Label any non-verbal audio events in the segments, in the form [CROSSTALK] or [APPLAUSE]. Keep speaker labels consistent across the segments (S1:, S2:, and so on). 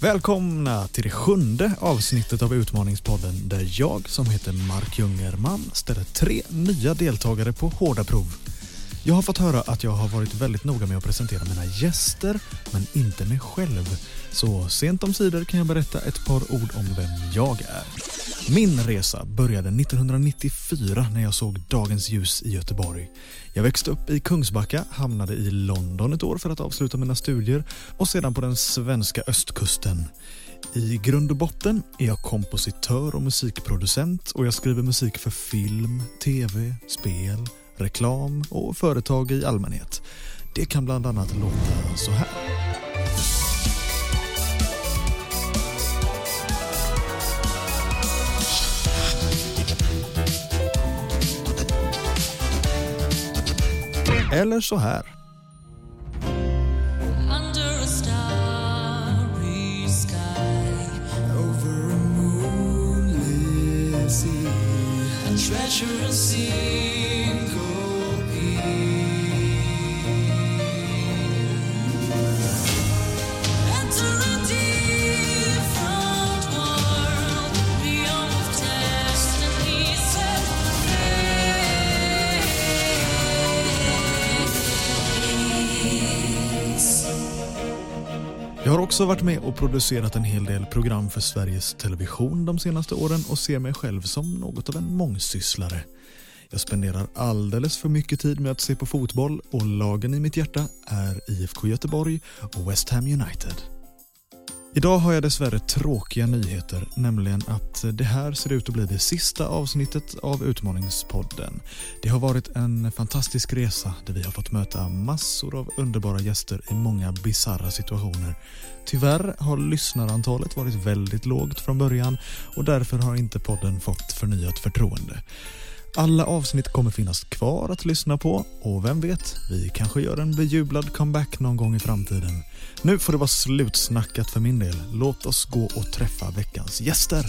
S1: Välkomna till det sjunde avsnittet av Utmaningspodden där jag som heter Mark Jungerman ställer tre nya deltagare på hårda prov. Jag har fått höra att jag har varit väldigt noga med att presentera mina gäster, men inte mig själv. Så sent om sidor kan jag berätta ett par ord om vem jag är. Min resa började 1994 när jag såg dagens ljus i Göteborg. Jag växte upp i Kungsbacka, hamnade i London ett år för att avsluta mina studier och sedan på den svenska östkusten. I grund och botten är jag kompositör och musikproducent och jag skriver musik för film, tv, spel, reklam och företag i allmänhet. Det kan bland annat låta så här. Eller så här.
S2: Under a starry sky, over a moonlit sea, I treasure a single piece. Enter a different world, beyond of destinies and fates.
S1: Jag har också varit med och producerat en hel del program för Sveriges Television de senaste åren och ser mig själv som något av en mångsysslare. Jag spenderar alldeles för mycket tid med att se på fotboll och lagen i mitt hjärta är IFK Göteborg och West Ham United. Idag har jag dessvärre tråkiga nyheter, nämligen att det här ser ut att bli det sista avsnittet av Utmaningspodden. Det har varit en fantastisk resa där vi har fått möta massor av underbara gäster i många bisarra situationer. Tyvärr har lyssnarantalet varit väldigt lågt från början och därför har inte podden fått förnyat förtroende. Alla avsnitt kommer finnas kvar att lyssna på och vem vet, vi kanske gör en bejublad comeback någon gång i framtiden. Nu får det vara slutsnackat för min del. Låt oss gå och träffa veckans gäster.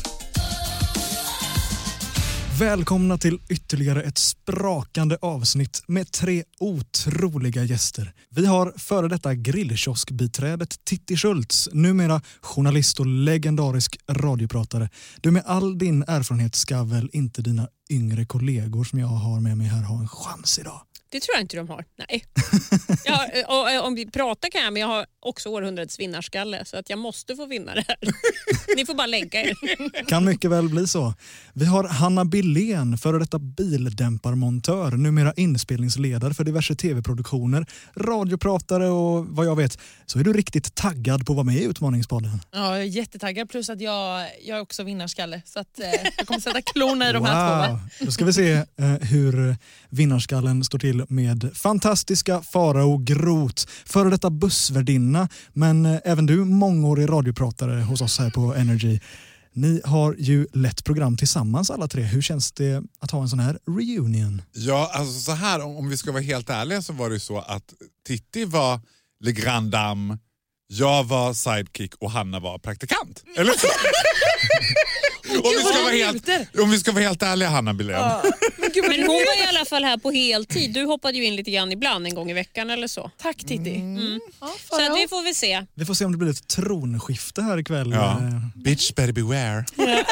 S1: Välkomna till ytterligare ett sprakande avsnitt med tre otroliga gäster. Vi har före detta grillkioskbiträdet Titti Schultz, numera journalist och legendarisk radiopratare. Du med all din erfarenhet ska väl inte dina yngre kollegor som jag har med mig här ha en chans idag?
S3: Det tror jag inte de har. Nej. Ja, eh, och, och, om vi pratar kan jag, men jag har också århundradets vinnarskalle så att jag måste få vinna [LAUGHS] det här. Ni får bara lägga er.
S1: Kan mycket väl bli så. Vi har Hanna Billén, före detta bildämparmontör, numera inspelningsledare för diverse tv-produktioner, radiopratare och vad jag vet så är du riktigt taggad på att vara med i Utmaningspodden.
S4: Ja, jag är jättetaggad plus att jag, jag är också vinnarskalle så att, eh, jag kommer sätta klorna i de här två. Va?
S1: Då ska vi se eh, hur vinnarskallen står till med fantastiska Farao Groth, före detta bussvärdinna, men eh, även du mångårig radiopratare hos oss här på Energy. Ni har ju lett program tillsammans alla tre. Hur känns det att ha en sån här reunion?
S5: Ja, alltså så här, om, om vi ska vara helt ärliga så var det ju så att Titti var Le Grand Dame, jag var sidekick och Hanna var praktikant. Eller så? om, vi ska
S4: vad
S5: vara
S4: han
S5: helt,
S4: njuter.
S5: om vi ska vara helt ärliga Hanna Billén.
S3: Men hon var i alla fall här på heltid. Du hoppade ju in lite grann ibland en gång i veckan eller så.
S4: Tack Titti.
S5: Mm.
S4: Mm. Ja,
S3: Så
S4: Farao.
S3: att vi får väl se.
S1: Vi får se om det blir ett tronskifte här ikväll.
S5: Ja.
S1: Eh,
S5: Bitch better beware. [LAUGHS]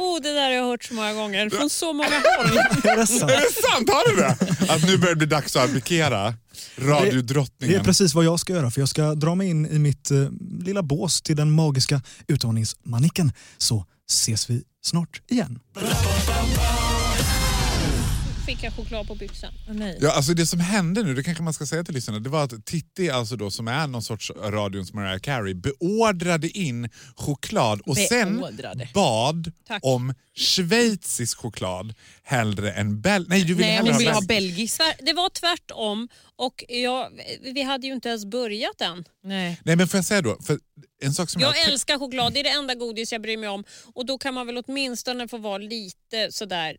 S3: Oh, det där har jag hört så många gånger från så många håll.
S1: Är det sant?
S5: Är [LAUGHS] det sant? Har du det? Att nu börjar det bli dags att abdikera.
S1: Det är
S5: Radiodrottningen.
S1: precis vad jag ska göra för jag ska dra mig in i mitt eh, lilla bås till den magiska utmaningsmanicken. Så ses vi snart igen.
S3: Fick jag choklad på byxan.
S4: Nej.
S5: Ja, alltså det som hände nu, det kanske man ska säga till lyssnarna, det var att Titti, alltså då, som är någon sorts radions Mariah Carey, beordrade in choklad och sen
S4: Beordrade.
S5: bad
S3: Tack.
S5: om schweizisk choklad hellre än bel... Nej, du ville
S4: Nej,
S5: hellre
S4: hon vill ha
S5: belgisk.
S4: belgisk.
S3: Tvär- Det var tvärtom och jag, vi hade ju inte ens börjat än.
S4: Nej.
S5: Nej, men får jag säga då, för en sak som jag...
S3: Jag älskar choklad, det är det enda godis jag bryr mig om. Och då kan man väl åtminstone få vara lite sådär...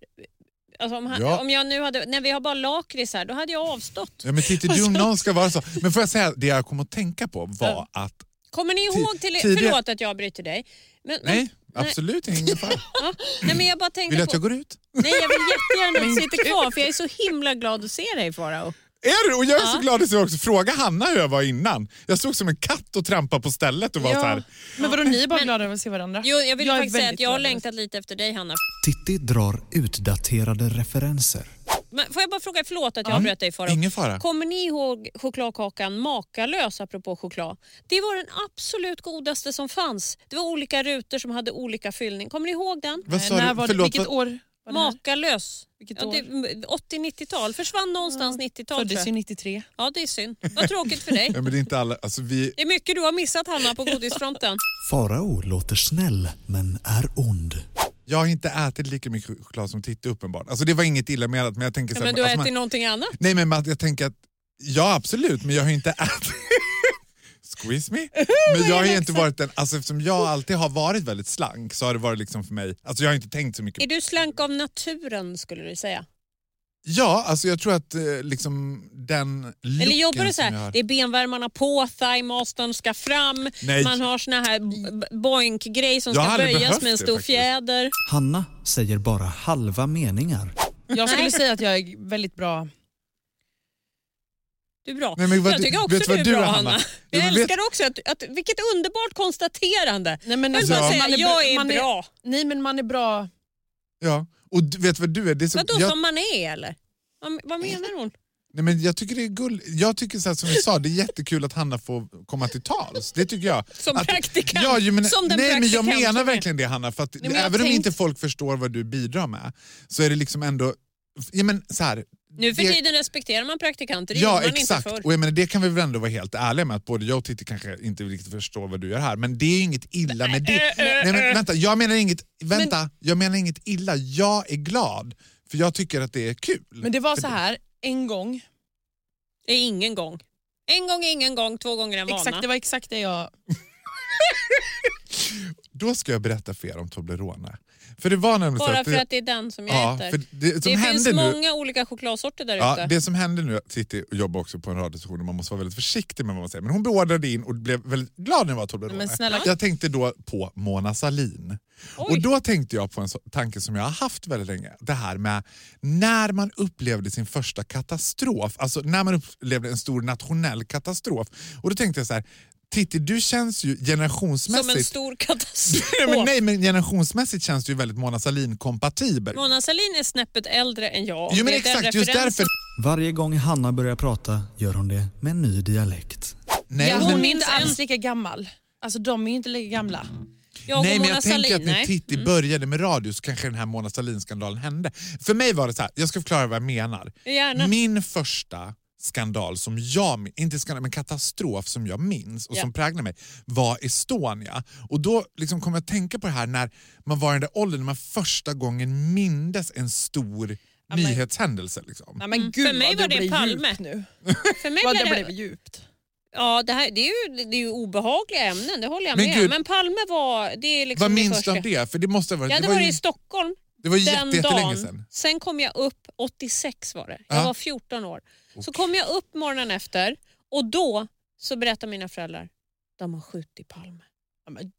S3: Alltså om, han,
S5: Ja.
S3: om jag nu hade... När vi har bara lakrits här, då hade jag avstått.
S5: Ja, men Titti, du om någon ska vara så. Men får jag säga, det jag kom att tänka på var att...
S3: Kommer ni
S5: Ti-
S3: ihåg till...
S5: tidigare-
S3: Förlåt att jag bryter dig. Men, men-
S5: Nej, absolut ingen fara.
S3: ja, nej, men jag bara
S5: Vill du
S3: tänkte
S5: att jag
S3: på...
S5: går ut? [LAUGHS]
S3: Nej, jag vill jättegärna att du sitter kvar för jag är så himla glad att se dig Farao.
S5: Är du? Och jag är så glad att jag också fråga Hanna hur jag var innan. Jag såg som en katt och trampade på stället och var så här.
S4: Men vadå, ni är bara glada över att se varandra?
S3: Jo, jag vill
S4: är
S3: faktiskt säga att
S4: väldigt
S3: jag har
S4: glad över-
S5: alltså.
S3: längtat lite efter dig Hanna.
S1: Titti drar utdaterade referenser.
S3: Men får jag bara fråga, förlåt att jag avbröt dig Farao.
S5: Ingen fara.
S3: Kommer ni ihåg chokladkakan Makalös apropå choklad? Det var den absolut godaste som fanns. Det var olika rutor som hade olika fyllning. Kommer ni ihåg den?
S5: Vad
S4: Nej,
S5: sa
S4: när
S5: du?
S4: var det,
S5: Förlåt,
S4: vilket
S5: vad-
S4: år var det här?
S3: Makalös.
S4: Vilket
S3: Ja,
S4: år?
S3: det- 80-90-tal. Försvann någonstans 90-tal tror
S4: Föddes ju
S3: jag.
S4: 93.
S3: Ja, det är synd. Vad tråkigt
S5: [LAUGHS]
S3: för dig.
S5: Ja, men det är inte alla. Alltså, vi,
S3: Det är mycket du har missat Hanna på
S5: [LAUGHS]
S3: godisfronten.
S1: Farao låter snäll, men är ond.
S5: jag har inte ätit lika mycket choklad som Titti uppenbart. Alltså, det var inget illa menat men jag tänker så
S3: Ja,
S5: här,
S3: men du har
S5: alltså, man-
S3: ätit någonting annat.
S5: Nej men Matt, jag tänker att, ja absolut men jag har ju inte ätit... [LAUGHS] Squeeze me? Men jag har ju inte varit den, alltså eftersom jag alltid har varit väldigt slank så har det varit liksom för mig, alltså jag har inte tänkt så
S3: Är
S5: mycket.
S3: du slank av naturen skulle du säga?
S5: Ja, alltså jag tror att eh, liksom den
S3: Eller jobbar
S5: looken
S3: du så
S5: som jag
S3: här?
S5: har-
S3: Det är benvärmarna på, thigh-mastern ska fram,
S5: Nej.
S3: man har såna här b- b- boink-grej som
S5: Jag har
S3: ska
S5: aldrig
S3: böjas
S5: behövt
S3: med en
S5: det
S3: stor
S5: faktiskt.
S3: fjäder.
S1: Hanna säger bara halva meningar.
S4: Jag skulle
S3: Nej.
S4: säga att jag är väldigt bra.
S3: Du är bra.
S5: Nej, men vad
S3: jag
S5: du-
S3: tycker också
S5: vet
S3: du
S5: vad
S3: är
S5: du
S3: bra
S5: är,
S3: Hanna.
S5: Hanna?
S3: Jag
S5: Ja, men vet-
S3: älskar också att, att, vilket underbart konstaterande.
S4: Nej, men
S3: Jag vill
S5: Ja.
S3: bara
S5: alltså,
S3: säga,
S4: man är bra-
S3: jag är
S4: man är-
S3: bra.
S4: Nej men man är bra.
S5: Ja, och du, vet vad du är? Det är så,
S3: Vadå
S5: jag,
S3: som man är eller? Vad, vad menar hon?
S5: nej, men jag tycker det är gull, jag tycker så här, som vi sa, det är jättekul att Hanna får komma till tals. Det tycker jag.
S3: Som
S5: att,
S3: praktikant.
S5: Ja, ju, men,
S3: som den
S5: nej, men jag
S3: praktikant som
S5: menar
S3: är.
S5: verkligen det Hanna, för att
S4: men jag har
S5: även om
S4: tänkt-
S5: inte folk förstår vad du bidrar med så är det liksom ändå, ja men så här,
S3: Nu för
S5: det-
S3: tiden respekterar man praktikanter, det
S5: Ja
S3: gjorde man
S5: exakt,
S3: inte förr.
S5: och jag menar, det kan vi väl ändå vara helt ärliga med att både jag och Titti kanske inte riktigt förstår vad du gör här men det är ju inget illa med
S3: [LAUGHS]
S5: det. Nej, men, vänta, jag menar inget, vänta, jag menar inget illa, jag är glad för jag tycker att det är kul.
S4: Men det var
S5: För
S4: så här en gång.
S3: Det är ingen gång. En gång är ingen gång, två gånger är en vana.
S4: Exakt, det var exakt det jag...
S5: Då ska jag berätta för er om Toblerone. För det var nämligen så
S3: Bara
S5: att
S3: för att det är den som jag
S5: ja,
S3: äter.
S5: för det som
S3: det finns
S5: hände nu,
S3: många olika chokladsorter där
S5: Ja,
S3: ute.
S5: det som hände nu, Titti jobbar också på en radiostation och man måste vara väldigt försiktig med vad man säger. Men hon beordrade in och blev väldigt glad när det var Toblerone.
S4: Men snälla-
S5: Jag tänkte då på Mona Salin. Och då tänkte jag på en så- tanke som jag har haft väldigt länge. Det här med när man upplevde sin första katastrof, alltså när man upplevde en stor nationell katastrof. Och då tänkte jag så här, Titti du känns ju
S3: Som en
S5: generationsmässigt
S3: stor katastrof.
S5: Nej, men, nej, men generationsmässigt känns du ju väldigt Mona Sahlin-kompatibel.
S3: Mona Sahlin är snäppet äldre än jag.
S5: Jo men
S3: Det är den
S5: exakt, just
S3: referensen.
S5: därför.
S1: Varje gång Hanna börjar prata gör hon det med en ny dialekt.
S5: Nej,
S4: ja,
S5: men-
S4: hon är
S3: men-
S4: inte alls lika gammal. Alltså de är ju inte lika gamla.
S3: Jag och
S5: nej, men
S3: Mona
S5: jag tänker
S3: Sahlin,
S5: att när
S3: nej. Mm.
S5: Titti började med radio så kanske den här Mona Sahlin-skandalen hände. För mig var det så här, jag ska förklara vad jag menar.
S3: Gärna.
S5: Min första skandal som jag min- inte skandal, men katastrof som jag minns och
S3: Ja.
S5: som präglade mig var Estonia. Och då liksom kom jag att tänka på det här när man var i den där åldern när man första gången mindes en stor nyhetshändelse. Liksom.
S4: Nej, men gud
S3: För mig
S4: vad
S3: var det
S4: blir
S3: Palme.
S4: djupt nu.
S3: För mig
S4: Vad det
S3: blev det,
S4: blev djupt.
S3: ja, det, här, det, är ju, det är ju obehagliga ämnen, det håller jag
S5: Men
S3: med
S5: gud-
S3: Men Palme var... Det är liksom
S5: Vad
S3: det
S5: minns du
S3: första.
S5: av det? För det måste ha varit,
S3: Jag hade
S5: det var
S3: varit
S5: ju,
S3: i Stockholm
S5: det var ju
S3: den
S5: jätte, jättelänge
S3: dagen.
S5: sedan.
S3: Sen kom jag upp, 86 var det, jag
S5: Ja.
S3: var 14 år. Så kom jag upp morgonen efter och då så berättade mina föräldrar, de har skjutit Palme.
S4: Ja, men-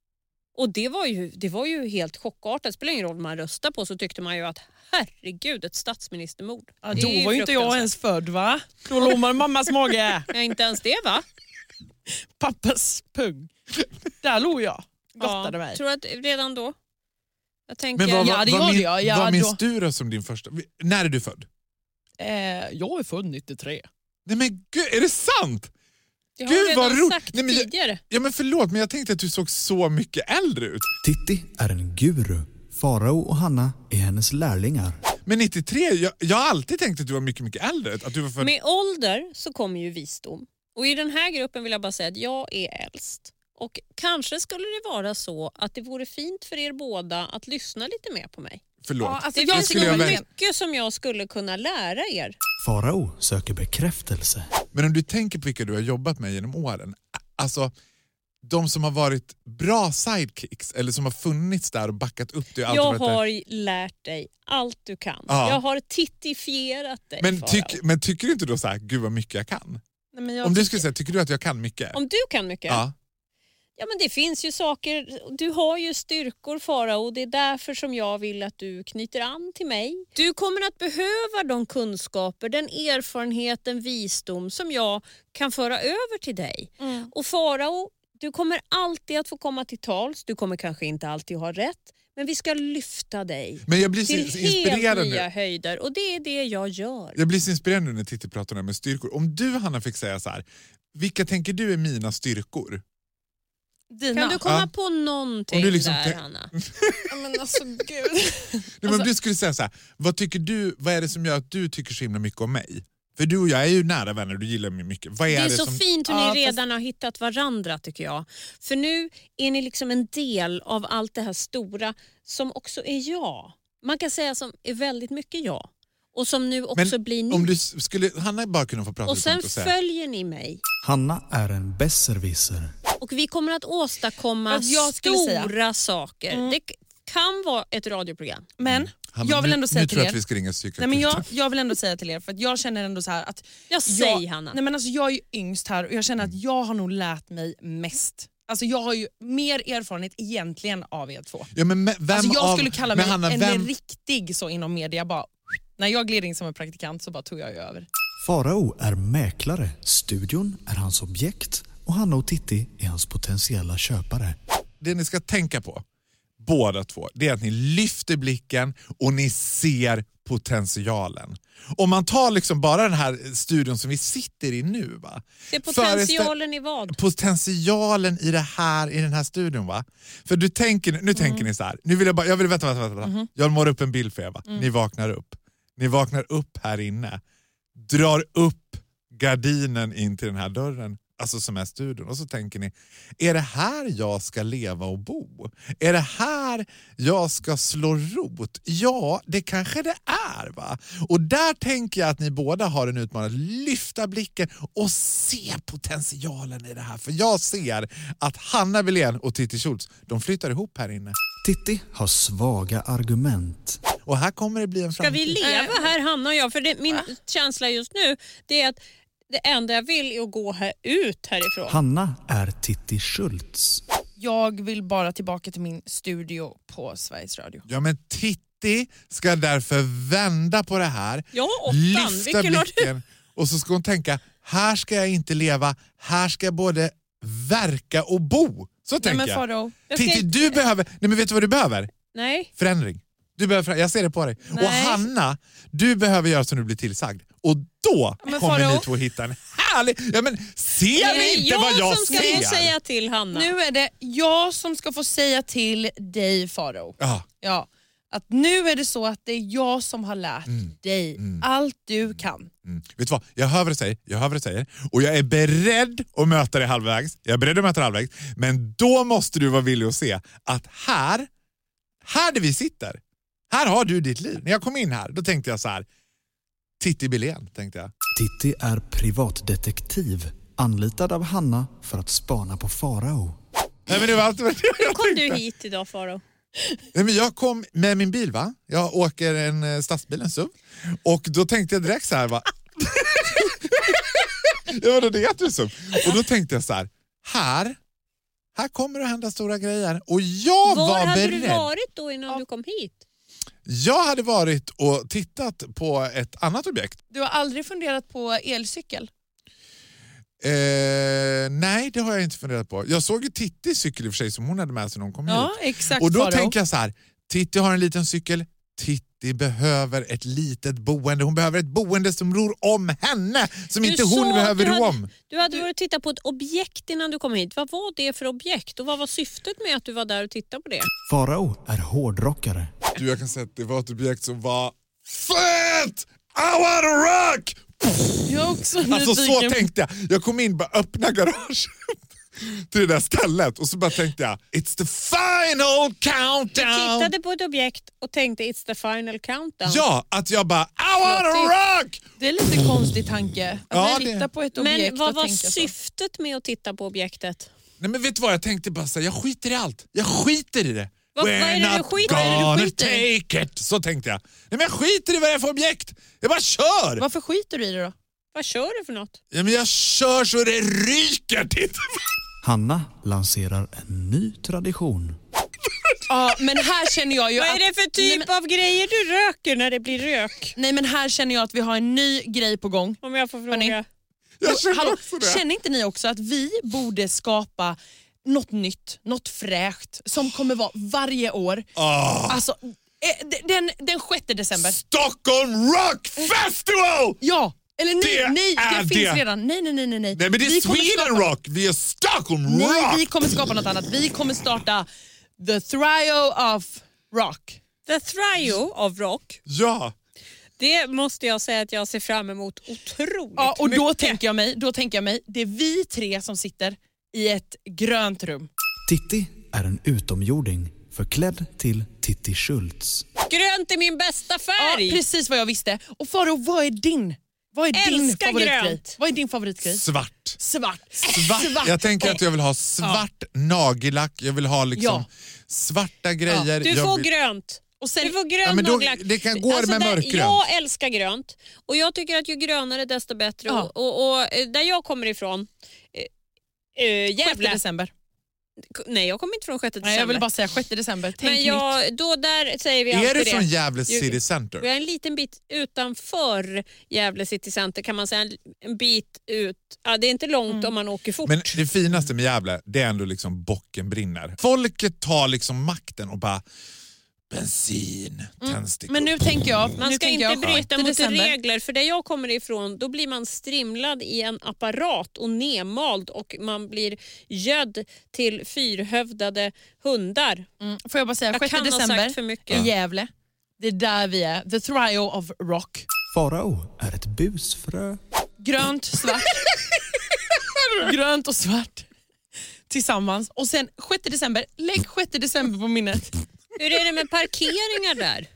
S3: Och det var ju, det var ju helt chockartat. Det spelar ingen roll vad man röstar på så tyckte man ju att herregud ett statsministermord.
S4: Ja,
S3: Det är
S4: då
S3: ju
S4: var ju inte jag
S3: fruktansvärt.
S4: ens född va? Då låg man i mammas mage.
S3: Ja, inte ens det va?
S4: Pappas pung. Där låg jag. Gottade mig.
S3: Tror att redan då? Jag tänker,
S5: Men vad,
S4: Ja,
S5: vad,
S4: det
S5: vad,
S4: gjorde
S5: min,
S4: jag. Ja,
S5: vad minns
S4: då-
S5: du då som din första... När är du född?
S4: Eh, jag är född 93.
S5: Nej men gud, är det sant?
S3: jag
S5: gud,
S3: har
S5: vad
S3: redan
S5: roligt.
S3: sagt
S5: Nej, men jag-
S3: tidigare.
S5: Ja men förlåt men jag tänkte att du såg så mycket äldre ut.
S1: Titti är en guru. Farao och Hanna är hennes lärlingar.
S5: Men 93, jag, jag har alltid tänkt att du var mycket mycket äldre. Att du var född...
S3: Med ålder så kommer ju visdom. Och i den här gruppen vill jag bara säga att jag är äldst. Och kanske skulle det vara så att det vore fint för er båda att lyssna lite mer på mig.
S5: Förlåt.
S4: Ja, alltså,
S3: Det
S4: jag
S3: finns
S5: skulle
S3: nog
S5: jag
S4: nog
S5: verkligen-
S3: mycket som jag skulle kunna lära er.
S1: Farao söker bekräftelse.
S5: Men om du tänker på vilka du har jobbat med genom åren. a- Alltså, de som har varit bra sidekicks eller som har funnits där och backat upp dig. och alltid
S3: Jag
S5: varit där.
S3: har lärt dig allt du kan.
S5: Ja.
S3: Jag har tittifierat dig
S5: men,
S3: Farao.
S5: tyck, men tycker du inte då så här, gud vad mycket jag kan?
S4: Nej, men jag
S5: om du skulle säga, tycker du att jag kan mycket?
S3: Om du kan mycket?
S5: ja.
S3: Ja men det finns ju saker, du har ju styrkor Farao och det är därför som jag vill att du knyter an till mig. Du kommer att behöva de kunskaper, den erfarenhet, den visdom som jag kan föra över till dig.
S5: Mm.
S3: Och Farao, du kommer alltid att få komma till tals, du kommer kanske inte alltid ha rätt, men vi ska lyfta dig
S5: Men jag blir så
S3: till
S5: inspirerad
S3: helt
S5: nu.
S3: nya höjder och det är det jag gör.
S5: Jag blir så inspirerad nu när Titti pratar om det här med styrkor. Om du Hanna fick säga så här, vilka tänker du är mina styrkor?
S4: Dina.
S3: Kan du komma
S5: Ja.
S3: på någonting
S5: Om du liksom
S3: där
S5: tänk-
S3: Hanna?
S4: Ja, men alltså, gud.
S5: Nej,
S4: Alltså-
S5: men om du skulle säga så här, vad, tycker du, vad är det som gör att du tycker så himla mycket om mig? För du och jag är ju nära vänner du gillar mig mycket. Vad är
S3: Det
S5: det,
S3: är så
S5: som...
S3: fint hur
S4: Ja,
S3: ni
S4: fast-
S3: redan har hittat varandra tycker jag. För nu är ni liksom en del av allt det här stora som också är jag. Man kan säga som är väldigt mycket jag och som nu också blir ni.
S5: om du s- skulle, Hanna bara kunde få prata
S3: och
S5: lite om
S3: sen
S5: det och säga,
S3: följer ni mig
S1: Hanna är en besserwisser.
S3: och vi kommer att åstadkomma
S4: Vad jag skulle säga.
S3: stora saker. Det k- kan vara ett radioprogram.
S4: Men
S5: Hanna,
S4: jag vill
S5: nu-
S4: ändå
S5: Nu
S4: säga till
S5: tror jag
S4: er.
S5: att vi ska ringa psykakuten.
S4: Nej, men jag, jag vill ändå säga till er, för att jag känner ändå så här att...
S3: Jag säger Hanna.
S4: Nej, men alltså, jag är ju yngst här och jag känner att
S5: Mm.
S4: jag har nog lärt mig mest. Alltså, jag har ju mer erfarenhet egentligen av er två.
S5: Ja, men me- vem
S4: Alltså, jag
S5: av,
S4: skulle kalla
S5: men
S4: mig
S5: Hanna,
S4: en
S5: vem,
S4: riktig så inom media. Bara, när jag gled in som en praktikant så bara tog jag ju över.
S1: Farao är mäklare, studion är hans objekt och Hanna och Titti är hans potentiella köpare.
S5: det ni ska tänka på, båda två, det är att ni lyfter blicken och ni ser potentialen. Om man tar liksom bara den här studion som vi sitter i nu. Va?
S3: Det är
S5: Föreställ-
S3: potentialen i vad?
S5: potentialen i, det här, i den här studion. Va? För du tänker, nu tänker ni så här, nu vill jag, bara, jag vill vänta, vänta, vänta. vänta. Jag målar upp en bild för er. Va? Ni vaknar upp. Ni vaknar upp här inne, drar upp gardinen in till den här dörren, alltså som är studion. Och så tänker ni, är det här jag ska leva och bo? Är det här jag ska slå rot? Ja, det kanske det är. va? Och där tänker jag att ni båda har en utmaning att lyfta blicken och se potentialen i det här. För jag ser att Hanna Wilén och Titti Schultz, de flyttar ihop här inne.
S1: Titti har svaga argument.
S5: Och här kommer det bli en
S3: Ska vi
S5: framtid.
S3: leva här Hanna och jag? För det, min känsla just nu det är att det enda jag vill är att gå här, ut härifrån.
S1: Hanna är Titti Schultz.
S4: Jag vill bara tillbaka till min studio på Sveriges Radio.
S5: Ja, men Titti ska därför vända på det här.
S3: Jag har åttan.
S5: lyfta
S3: Vilken har du?
S5: blicken och så ska hon tänka, här ska jag inte leva, här ska jag både verka och bo. Så
S4: Nej,
S5: tänker
S4: men
S5: jag.
S4: Faro,
S3: Jag ska
S5: Titti,
S3: inte-
S5: du behöver, nej men vet du vad du behöver?
S3: Nej.
S5: Förändring. Du behöver förändring. Jag ser det på dig.
S4: Nej.
S5: Och Hanna, du behöver göra som du blir tillsagd. Och då
S4: Men
S5: kommer
S4: Faro-
S5: ni två hitta en härlig... Ja, men ser
S3: Det
S5: ni
S3: är
S5: inte
S3: jag
S5: vad jag
S3: som ska
S5: ser?
S3: få säga till Hanna.
S4: nu är det jag som ska få säga till dig Faro.
S5: Ja,
S4: Ja, att nu är det så att det är jag som har lärt dig allt du kan.
S5: Mm. Vet du vad? Jag hör vad du säger, jag hör vad du säger och jag är beredd att möta dig halvvägs. Jag är beredd att möta dig halvvägs. Men då måste du vara villig att se att här, här där vi sitter, här har du ditt liv. När jag kom in här, då tänkte jag så här, Titti Billén, tänkte jag.
S1: Titti är privatdetektiv, anlitad av Hanna för att spana på Farao.
S5: Nej, men det var allt vad jag
S3: kom du
S5: tänkte.
S3: hit idag Faro.
S5: Nej, men jag kom med min bil, va? jag åker en eh, stadsbil, en SUV. Och då tänkte jag direkt så här... Va? [LAUGHS] ja, vadå, det heter ju SUV. Och då tänkte jag så här, här, här kommer det att hända stora grejer. Och jag
S3: Var
S5: var
S3: hade
S5: beredd.
S3: du varit då innan du kom hit?
S5: Jag hade varit och tittat på ett annat objekt.
S4: Du har aldrig funderat på elcykel?
S5: Eh, nej, det har jag inte funderat på. Jag såg ju Titti cykel i och för sig som hon hade med sig när hon kom hit.
S4: Ja, exakt
S5: Mm. Och då
S4: Faro.
S5: tänker jag så här, Titti har en liten cykel, Titti behöver ett litet boende. Hon behöver ett boende som ror om henne, som
S3: Du
S5: inte
S3: sa
S5: hon
S3: att
S5: behöver
S3: du
S5: ro
S3: hade-
S5: om.
S3: Du hade varit och tittat på ett objekt innan du kom hit. Vad var det för objekt och vad var syftet med att du var där och tittade på det?
S1: Farao är hårdrockare.
S5: Du, jag kan säga att det var typ ett objekt som var fett! I wanna rock!
S4: Jag är också
S5: [LAUGHS] Alltså så
S4: nyfiken.
S5: tänkte jag. Jag kom in bara öppna garaget [LAUGHS] till det där stället och så bara tänkte jag, it's the final countdown!
S3: Tittade på ett objekt och tänkte it's the final countdown.
S5: Ja, att jag bara, I wanna rock!
S4: Det är lite konstig tanke. Att
S5: Ja,
S4: ja,
S5: det-
S4: titta på ett objekt
S3: Men vad
S4: och
S3: var
S4: tänka så.
S3: syftet med att titta på objektet?
S5: Nej men vet du vad, jag tänkte bara säga, jag skiter i allt. Jag skiter i det.
S3: Vad- vad är det du
S5: not
S3: skiter i? Vad är det
S5: gonna
S3: du
S4: skiter i?
S5: take it. Så tänkte jag. Nej men jag skiter i vad det är för objekt. Jag bara kör.
S4: Varför skiter du i det då?
S3: Vad kör du för något?
S5: Ja, men jag kör så det ryker. Titta.
S1: Hanna lanserar en ny tradition.
S4: Ja, men här känner jag ju
S3: Vad är
S4: att-
S3: det för
S4: Nej,
S3: typ
S4: men-
S3: av grejer du röker när det blir rök?
S4: Nej men här känner jag att vi har en ny grej på gång.
S3: Om jag får fråga.
S4: Hörni.
S5: Jag känner
S4: Hallå,
S5: också det.
S4: känner inte ni också att vi borde skapa något nytt, något fräscht som kommer vara varje år?
S5: Ah.
S4: Alltså, eh, d- den, den 6 december.
S5: Stockholm Rock Festival!
S4: Ja! Eller nej,
S5: Det
S4: nej,
S5: är
S4: det
S5: det.
S4: finns redan. Nej, nej, nej. nej, nej.
S5: Nej men det är
S4: Vi kommer
S5: Sweden
S4: skapa-
S5: Rock, vi är Stockholm
S4: Nej,
S5: Rock!
S4: vi kommer skapa något annat. Vi kommer starta The Trio of Rock.
S3: The Trio av Rock,
S5: Ja,
S3: det måste jag säga att jag ser fram emot otroligt
S4: Ja, och då
S3: mycket.
S4: tänker, jag mig, då tänker jag mig, det är vi tre som sitter i ett grönt rum.
S1: Titti är en utomjording förklädd till Titti Schultz.
S3: Grönt är min bästa färg!
S4: Ja, precis vad jag visste. Och Faro, vad är din? Vad är din
S3: Älskar
S4: favoritgrej?
S3: grönt.
S4: Vad är din favoritgrej?
S5: svart.
S4: Svart.
S5: Svart. Jag tänker att jag vill ha svart nagellack, jag vill ha liksom
S4: Ja.
S5: svarta grejer.
S3: Du
S5: jag
S3: får
S5: vill...
S3: grönt.
S4: Och sen,
S3: Du får grön
S5: Ja, men då-
S3: nagellack. Alltså,
S5: det kan gå med
S3: där-
S5: mörkgrönt.
S3: Jag älskar grönt och jag tycker att ju grönare desto bättre.
S4: Ja.
S3: Och, och, och eh, där jag kommer ifrån, eh, eh,
S4: 6
S3: Gävle.
S4: december.
S3: Nej jag kommer inte från 6 december.
S4: Nej, jag vill bara säga 6 december. Tänk
S3: men jag, då där säger vi
S5: Är
S3: alltid
S5: du
S3: det.
S5: från Gävle
S3: Ju-
S5: City Center?
S3: Vi är en liten bit utanför Gävle city center kan man säga. En, en bit ut. Ja, det är inte långt om man åker fort.
S5: Men det finaste med Gävle, det är ändå liksom bocken brinner. Folket tar liksom makten och bara bensin,
S3: Mm,
S5: tändstickor.
S4: Men nu tänker jag...
S3: man
S4: nu
S3: ska
S4: tänker jag,
S3: inte bryta
S4: 6
S3: mot
S4: december.
S3: regler för där jag kommer ifrån då blir man strimlad i en apparat och nedmald och man blir gödd till fyrhövdade hundar.
S4: Mm, Får jag bara säga
S3: Jag
S4: 6
S3: kan ha sagt
S4: december
S3: för mycket.
S4: i Gävle. Det är där vi är. The Trio of Rock.
S1: Farao är ett busfrö.
S3: [LAUGHS]
S4: Grönt, svart. Grönt och svart tillsammans. Och sen 6 december. Lägg 6 december på minnet.
S3: Hur är det med parkeringar där?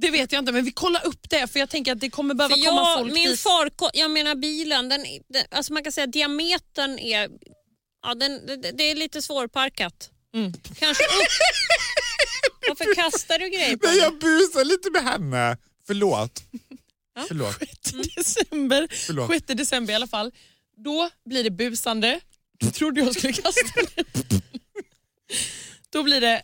S4: Det vet jag inte, men vi kollar upp det för jag tänker att det kommer behöva
S3: För
S4: komma
S3: jag,
S4: folk
S3: min
S4: dit.
S3: farko- jag menar bilen, den, den, alltså man kan säga att diametern är, ja, den, det, det är lite svårparkat.
S4: Mm.
S3: Kanske upp. Varför kastar du grejer på
S5: Nej,
S3: mig?
S5: jag busar lite med henne.
S3: [LAUGHS]
S5: Förlåt. Förlåt.
S3: Mm.
S4: 6 december.
S5: Förlåt.
S4: 6 december i alla fall. Då blir det busande. Du trodde jag skulle kasta det. Då blir det...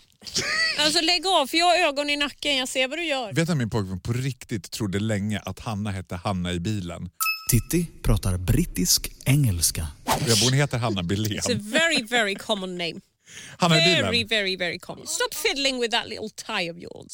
S3: Alltså lägg av för jag har ögon i nacken, jag ser vad du gör.
S5: Vet du att min pojkvän på riktigt trodde länge att Hanna hette Hanna i bilen?
S1: Titti pratar brittisk engelska.
S5: Jag borde heter Hanna Billén.
S3: It's a very very common name.
S5: Hanna i
S3: Very
S5: bilen.
S3: very very common. Stop fiddling with that little tie of yours.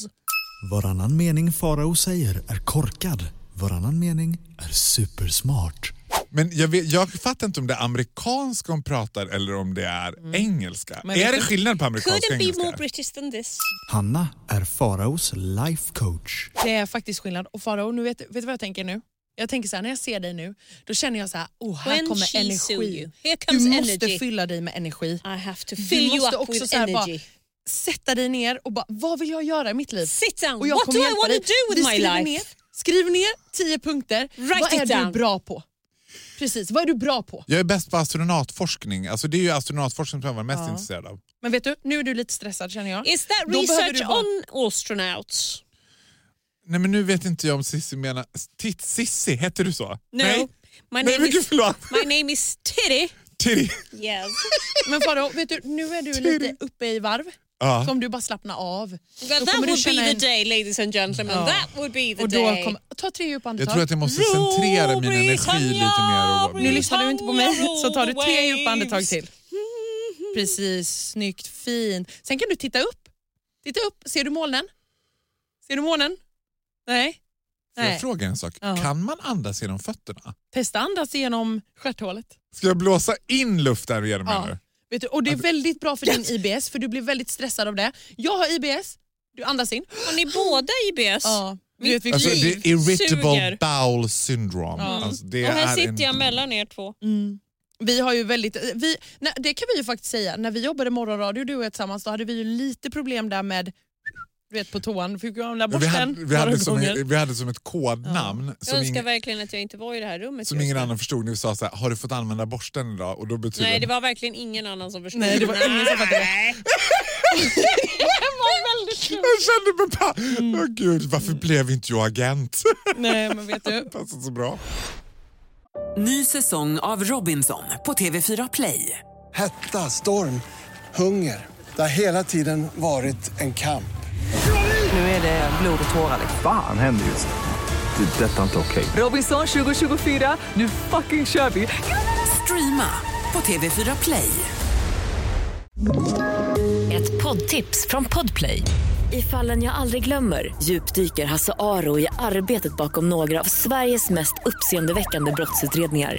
S1: Varannan mening Farao säger är korkad. Varannan mening är supersmart.
S5: Men jag, vet, jag fattar inte om det är amerikanska hon pratar eller om det är
S3: Mm.
S5: engelska.
S4: Men
S5: är
S4: vet
S5: det
S4: du-
S5: skillnad på amerikanska
S3: Couldn't
S5: och
S3: be more
S5: engelska?
S3: British than this.
S1: Hanna är Faraos life coach.
S4: Det är faktiskt skillnad. Och Farao, nu vet, vet du vad jag tänker nu? Jag tänker så här, när jag ser dig nu, då känner jag så här, oh, här
S3: When
S4: kommer
S3: she sue
S4: energi.
S3: you. Here
S4: Du
S3: comes
S4: måste
S3: energy.
S4: fylla dig med energi.
S3: I have to
S4: Du
S3: fill you
S4: måste
S3: up
S4: också
S3: with
S4: så här bara-
S3: energy.
S4: Sätta dig ner och bara, vad vill jag göra i mitt liv?
S3: Sit down.
S4: Och jag
S3: What do
S4: kommer
S3: I
S4: hjälpa
S3: want to
S4: dig.
S3: do
S4: Vi
S3: with my
S4: skriver
S3: life?
S4: Ner, skriv ner tio punkter.
S3: Write
S4: vad
S3: it
S4: är
S3: down.
S4: du bra på? Precis, vad är du bra på?
S5: Jag är bäst på astronautforskning. Alltså det är ju astronautforskning som jag var mest intresserad av.
S4: Men vet du, nu är du lite stressad känner jag.
S3: Is that
S4: Då behöver
S3: research
S4: du vara-
S3: on astronauts?
S5: Nej men nu vet inte jag om Sissi menar... Titt, Sissi, heter du så?
S3: No.
S5: Nej,
S3: My,
S5: Nej
S3: name
S5: men gud
S3: is,
S5: förlåt.
S3: my name is Titty.
S5: Tiri.
S3: Yes.
S4: [LAUGHS] Men Farao, vet du, nu är du lite uppe i varv.
S5: Ja.
S4: Så om du bara slappnar av.
S3: That,
S4: kommer du
S3: would be
S4: känna
S3: the
S4: en-
S3: day ladies and gentlemen. That would be the
S4: Och då
S3: day.
S4: kom, ta tre djupa
S5: Jag tror
S4: andetag.
S5: att jag måste centrera min energi lite mer. Och,
S4: Nu lyssnar du inte på mig så tar du tre djupa andetag till. Precis, snyggt, fint. Sen kan du titta upp. Titta upp, ser du molnen? Ser du molnen? Nej.
S5: Får jag
S4: Nej.
S5: fråga en sak?
S4: Ja.
S5: Kan man andas genom fötterna?
S4: Testa andas genom stjärthålet.
S5: Ska jag blåsa in luft där genom
S4: Ja.
S5: henne?
S4: Vet du, och
S5: Alltså-
S4: det är väldigt bra för din IBS för du blir väldigt stressad av det. Jag har IBS, du andas in.
S3: Har ni båda IBS?
S4: Ja. Du vet vilket
S5: Alltså,
S4: liv.
S5: det är irritable
S3: suger.
S5: bowel syndrome. Alltså, det
S3: Och här
S5: är Mm, en-
S3: sitter jag mellan er två.
S4: Vi har ju väldigt, vi, nej, det kan vi ju faktiskt säga, när vi jobbade morgonradio du och jag tillsammans då hade vi ju lite problem där med du vet på toan, fick vi använda
S5: Men Vi hade,
S4: borsten
S5: vi,
S4: några
S5: hade liksom- som,
S4: gånger.
S5: vi hade som ett kodnamn
S3: Jag
S5: som,
S3: önskar
S5: ingen,
S3: verkligen att jag inte var i det här rummet
S5: som
S3: just
S5: ingen
S3: nu.
S5: annan förstod. När vi sa så här, har du fått använda borsten idag? Och då betyder
S3: Nej, det var verkligen ingen annan som förstod.
S4: Nej, det var ingen som fattade det.
S3: [LAUGHS]
S4: Mm.
S5: Jag kände mig bara, åh gud, varför blev inte jag agent? [LAUGHS]
S4: Nej, men
S3: [LAUGHS]
S4: vet du.
S5: Passar så bra.
S6: Ny säsong av Robinson på TV4 Play. Hetta, storm, hunger. Det har hela tiden varit en kamp.
S7: Nu är det blod och tårar. liksom.
S8: Fan händer just nu. Det. är Detta är inte okej.
S7: Robinson 2024, nu fucking kör vi! Streama på TV4 Play.
S9: Ett poddtips från Podplay. I fallen jag aldrig glömmer djupdyker Hasse Aro i arbetet bakom några av Sveriges mest uppseendeväckande brottsutredningar.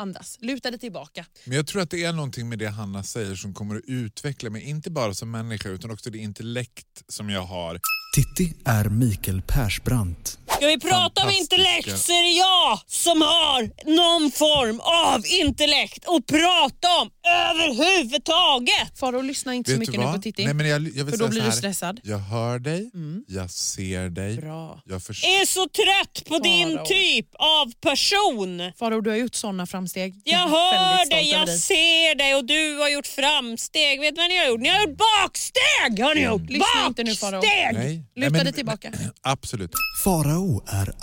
S4: Andas, luta dig tillbaka.
S5: Men jag tror att det är någonting med det Hanna säger som kommer att utveckla mig, inte bara som människa utan också det intellekt som jag har.
S1: Titti är Mikael Persbrandt.
S3: Ska vi prata om
S5: Fantastiska.
S3: intellekt så är det jag som har någon form av intellekt att prata om överhuvudtaget.
S4: Farao, lyssna inte så mycket nu på Titti.
S5: Nej, men jag, jag vill
S4: För då
S5: säga
S4: blir
S5: så
S4: du
S5: här.
S4: stressad. Mm.
S5: Jag hör dig, jag ser dig,
S4: Bra.
S5: jag förstår.
S3: Är så trött på din
S4: Farao.
S3: typ av person.
S4: Farao, du har gjort sådana framsteg.
S3: Jag
S4: är
S3: hör
S4: [LAUGHS] väldigt
S3: dig,
S4: stolt över
S3: jag ser dig och du har gjort framsteg. Vet du vad ni har gjort? Ni har gjort baksteg! Har ni gjort?
S4: Lyssna inte nu, Farao.
S3: Baksteg!
S5: Mm. Nej.
S4: Luta
S5: Nej, men-
S4: dig tillbaka.
S5: [CLEARS THROAT] Absolut.
S1: Farao är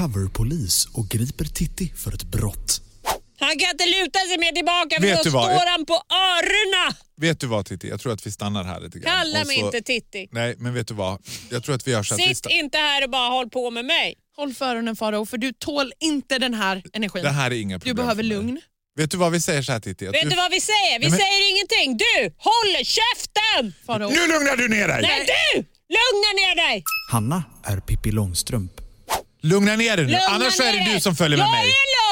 S1: undercover-polis och griper Titti för ett brott.
S3: Han kan inte luta sig mer tillbaka för
S5: Vet
S3: då
S5: du vad?
S3: står han på öronen.
S5: Vet du vad Titti, jag tror att vi stannar här lite grann.
S3: Kalla
S5: Och
S3: mig
S5: så-
S3: inte Titti.
S5: Nej, men vet du vad? Jag tror att vi gör så att vi
S3: Sitt
S5: sta-
S3: inte här och bara håll på med mig.
S4: Håll för öronen Farao, för du tål inte den här energin.
S5: Det här är inga
S4: du
S5: problem
S4: behöver
S5: för mig.
S4: lugn.
S5: Vet du vad vi säger så här Titti? Att
S3: Vet du vad vi säger? Vi
S5: Nej, men-
S3: säger ingenting. Du, håll käften!
S4: Farao.
S5: Nu lugnar du ner dig!
S3: Nej, du! Lugna ner dig!
S1: Hanna är Pippi Långstrump.
S5: Lugna ner dig nu,
S3: Lugna
S5: annars
S3: ner
S5: är det
S3: dig.
S5: du som följer med
S3: jag
S5: mig.
S3: Jag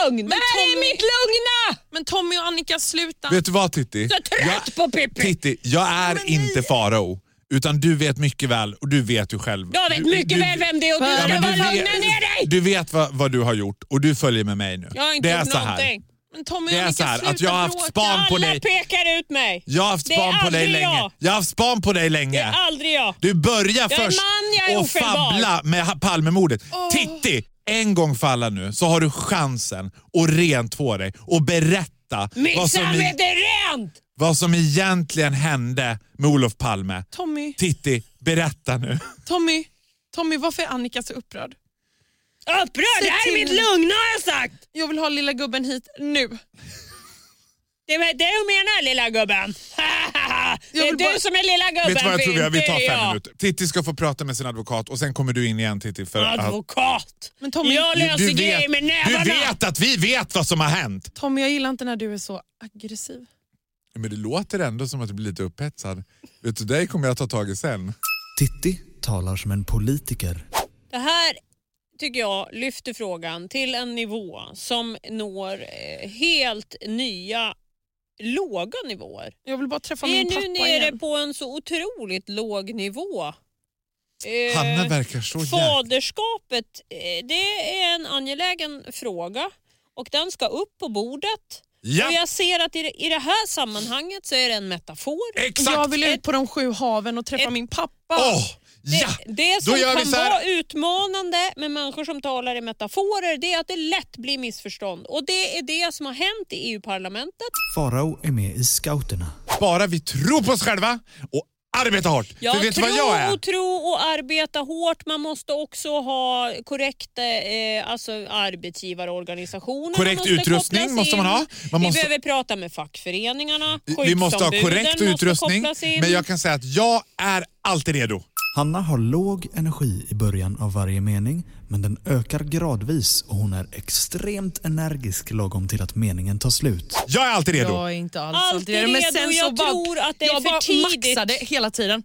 S3: är lugn!
S4: Men
S3: det här är
S4: Tommy-
S3: mitt lugna!
S4: Men Tommy och Annika, sluta.
S5: Vet du vad Titti?
S3: Jag är trött på Pippi.
S5: Titti, jag är inte farao. Utan du vet mycket väl och du vet ju själv.
S3: Jag vet
S5: du,
S3: mycket
S5: du-
S3: väl vem det är och du
S4: Ja,
S3: ska
S4: men
S3: bara
S4: du
S3: lugna
S5: vet-
S3: ner dig!
S5: Du vet vad, vad du har gjort och du följer med mig nu.
S3: Jag har inte
S5: det är
S3: gjort
S5: så här.
S3: någonting.
S4: Men Tommy
S5: Det
S4: och
S5: är så
S4: Annika,
S5: här
S4: sluta
S5: att jag har haft
S4: bråka.
S5: span på
S3: Alla
S5: dig.
S3: pekar ut mig.
S5: Jag har haft
S3: Det är
S5: span på dig
S3: aldrig
S5: länge.
S3: jag.
S5: Jag har haft span på dig
S3: Det
S5: länge.
S3: är aldrig jag.
S5: Du börjar
S3: är
S5: först
S3: man, jag är
S5: och
S3: ofelbar.
S5: fabbla med ha- Palmemordet. Titti, en gång för alla nu så har du chansen att rent på dig och berätta
S3: Mitt
S5: vad som, i,
S3: samvete är rent!
S5: vad som egentligen hände med Olof Palme.
S4: Tommy,
S5: Titti, berätta
S3: [LAUGHS]
S5: nu.
S4: Tommy, Tommy, varför är Annika så upprörd?
S3: Upprörd! Det här är
S4: till.
S3: mitt lugna har jag sagt!
S4: Jag vill ha lilla gubben hit nu.
S3: Det är det du menar lilla gubben. [LAUGHS]
S4: Jag
S3: det är
S4: vill
S3: du
S4: bara-
S3: som är lilla gubben,
S5: Vet du vad jag tror? Vi, vi
S3: inte
S5: tar fem
S3: jag.
S5: minuter. Titti ska få prata med sin advokat och sen kommer du in igen Titti. För att,
S3: Advokat!
S4: Men Tommy,
S3: jag löser
S5: du,
S3: grejer
S5: vet,
S3: med nävarna!
S5: du vet att vi vet vad som har hänt.
S4: Tommy, jag gillar inte när du är så aggressiv.
S5: Men det låter ändå som att du blir lite upphetsad. Vet du, dig kommer jag ta tag i sen.
S1: Titti talar som en politiker.
S3: Det här tycker jag lyfter frågan till en nivå som når eh, helt nya låga nivåer.
S4: Jag vill bara träffa
S3: Vi är
S4: min pappa
S3: nu nere
S4: igen.
S3: på en så otroligt låg nivå. Eh,
S5: Hanna verkar så jäkla...
S3: Faderskapet, eh, det är en angelägen fråga och den ska upp på bordet.
S5: Ja,
S3: Och jag ser att i det, i det här sammanhanget så är det en metafor.
S5: exakt!
S4: Jag vill ut på de sju haven och träffa min pappa.
S5: Åh,
S3: Det,
S5: ja!
S3: det
S5: Då
S3: som
S5: gör vi
S3: kan
S5: så här.
S3: vara utmanande med människor som talar i metaforer det är att det lätt blir missförstånd. Och det är det som har hänt i E EU-parlamentet.
S1: Farao är med i scouterna.
S5: Bara vi tror på oss själva och arbetar hårt.
S3: Ja,
S5: för vet du
S3: tro
S5: vad jag är?
S3: och tro och arbeta hårt. Man måste också ha korrekt eh, alltså arbetsgivarorganisationer.
S5: Korrekt
S3: måste
S5: utrustning
S3: kopplas
S5: måste man
S3: in.
S5: ha. Man
S3: Vi
S5: måste-
S3: behöver prata med fackföreningarna.
S5: Vi måste ha
S3: Skyddsombuden
S5: korrekt
S3: måste
S5: utrustning,
S3: kopplas in.
S5: men jag kan säga att jag är alltid redo.
S1: Hanna har låg energi i början av varje mening, men den ökar gradvis och hon är extremt energisk lagom till att meningen tar slut.
S5: Jag är alltid redo.
S4: Jag är inte alls
S3: Alltid
S4: alltid redo. Men
S3: redo,
S4: sen
S3: jag
S4: så bara,
S3: tror att det är
S4: jag
S3: för
S4: bara
S3: tidigt.
S4: maxade hela tiden.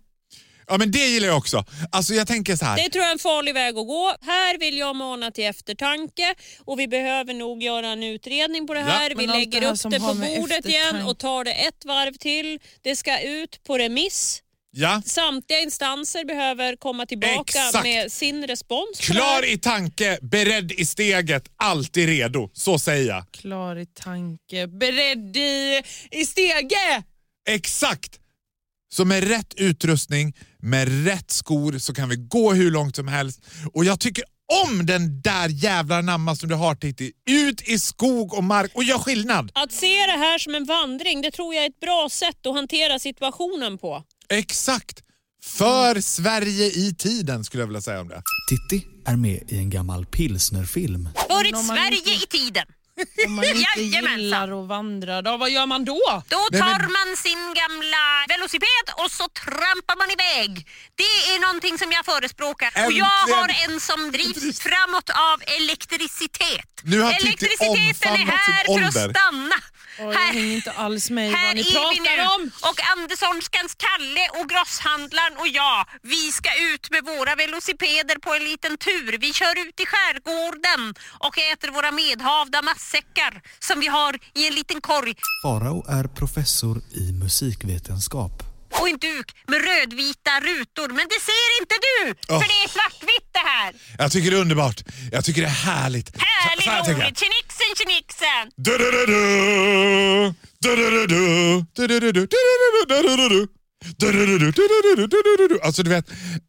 S5: Ja, men det gillar jag också. Alltså, jag tänker så här.
S3: Det tror jag är en farlig väg att gå. Här vill jag mana till eftertanke och vi behöver nog göra en utredning på det här. vi
S4: men allt
S3: lägger
S4: det här
S3: upp
S4: som
S3: det på
S4: har med
S3: bordet igen
S4: eftertanke-
S3: och tar det ett varv till. Det ska ut på remiss.
S5: Ja.
S3: Samtliga instanser behöver komma tillbaka
S5: Exakt.
S3: med sin respons. på det här.
S5: Klar i tanke, beredd i steget, alltid redo. Så säger jag.
S4: Klar i tanke, beredd i, i stege.
S5: Exakt! Så med rätt utrustning, med rätt skor så kan vi gå hur långt som helst. Och jag tycker om den där jävla namma som du har Titti. Ut i skog och mark och gör skillnad.
S10: Att se det här som en vandring, det tror jag är ett bra sätt att hantera situationen på.
S5: Exakt. För Sverige i tiden skulle jag vilja säga om det.
S1: Titti är med i en gammal pilsnerfilm.
S3: Varit
S4: Om man
S3: Sverige i tiden.
S4: Om man inte
S3: Jajamensan.
S4: gillar att vandra, då, vad gör man då?
S3: Då tar man sin gamla velociped och så trampar man iväg. Det är någonting som jag förespråkar. Och jag
S5: Äntligen.
S3: har en som drivs framåt av elektricitet.
S5: Nu har Titti
S3: Elektriciteten är
S5: omfamnat
S3: här
S5: sin
S3: för att
S5: ålder.
S3: stanna.
S4: Oj, jag hänger inte alls med i
S3: Här
S4: vad ni
S3: är vi nu
S4: pratar om.
S3: och Andersonskans Kalle och grosshandlaren och jag, vi ska ut med våra velocipeder på en liten tur. Vi kör ut i skärgården och äter våra medhavda matsäckar som vi har i en liten korg
S1: Farao är professor i musikvetenskap.
S3: och en duk med rödvita rutor. Men det ser inte du,
S5: Åh.
S3: för det är svartvitt det här.
S5: Jag tycker det är underbart. Jag tycker det är härligt. Så- så här
S3: Härligt
S5: tänker jag.
S3: roligt! Tjenixen, tjenixen!
S5: Du-du-du-du. Du-du-du-du. Du-du-du-du. Du-du-du-du. Du-du-du-du. Du-du-du-du. Du-du-du-du. Alltså du vet,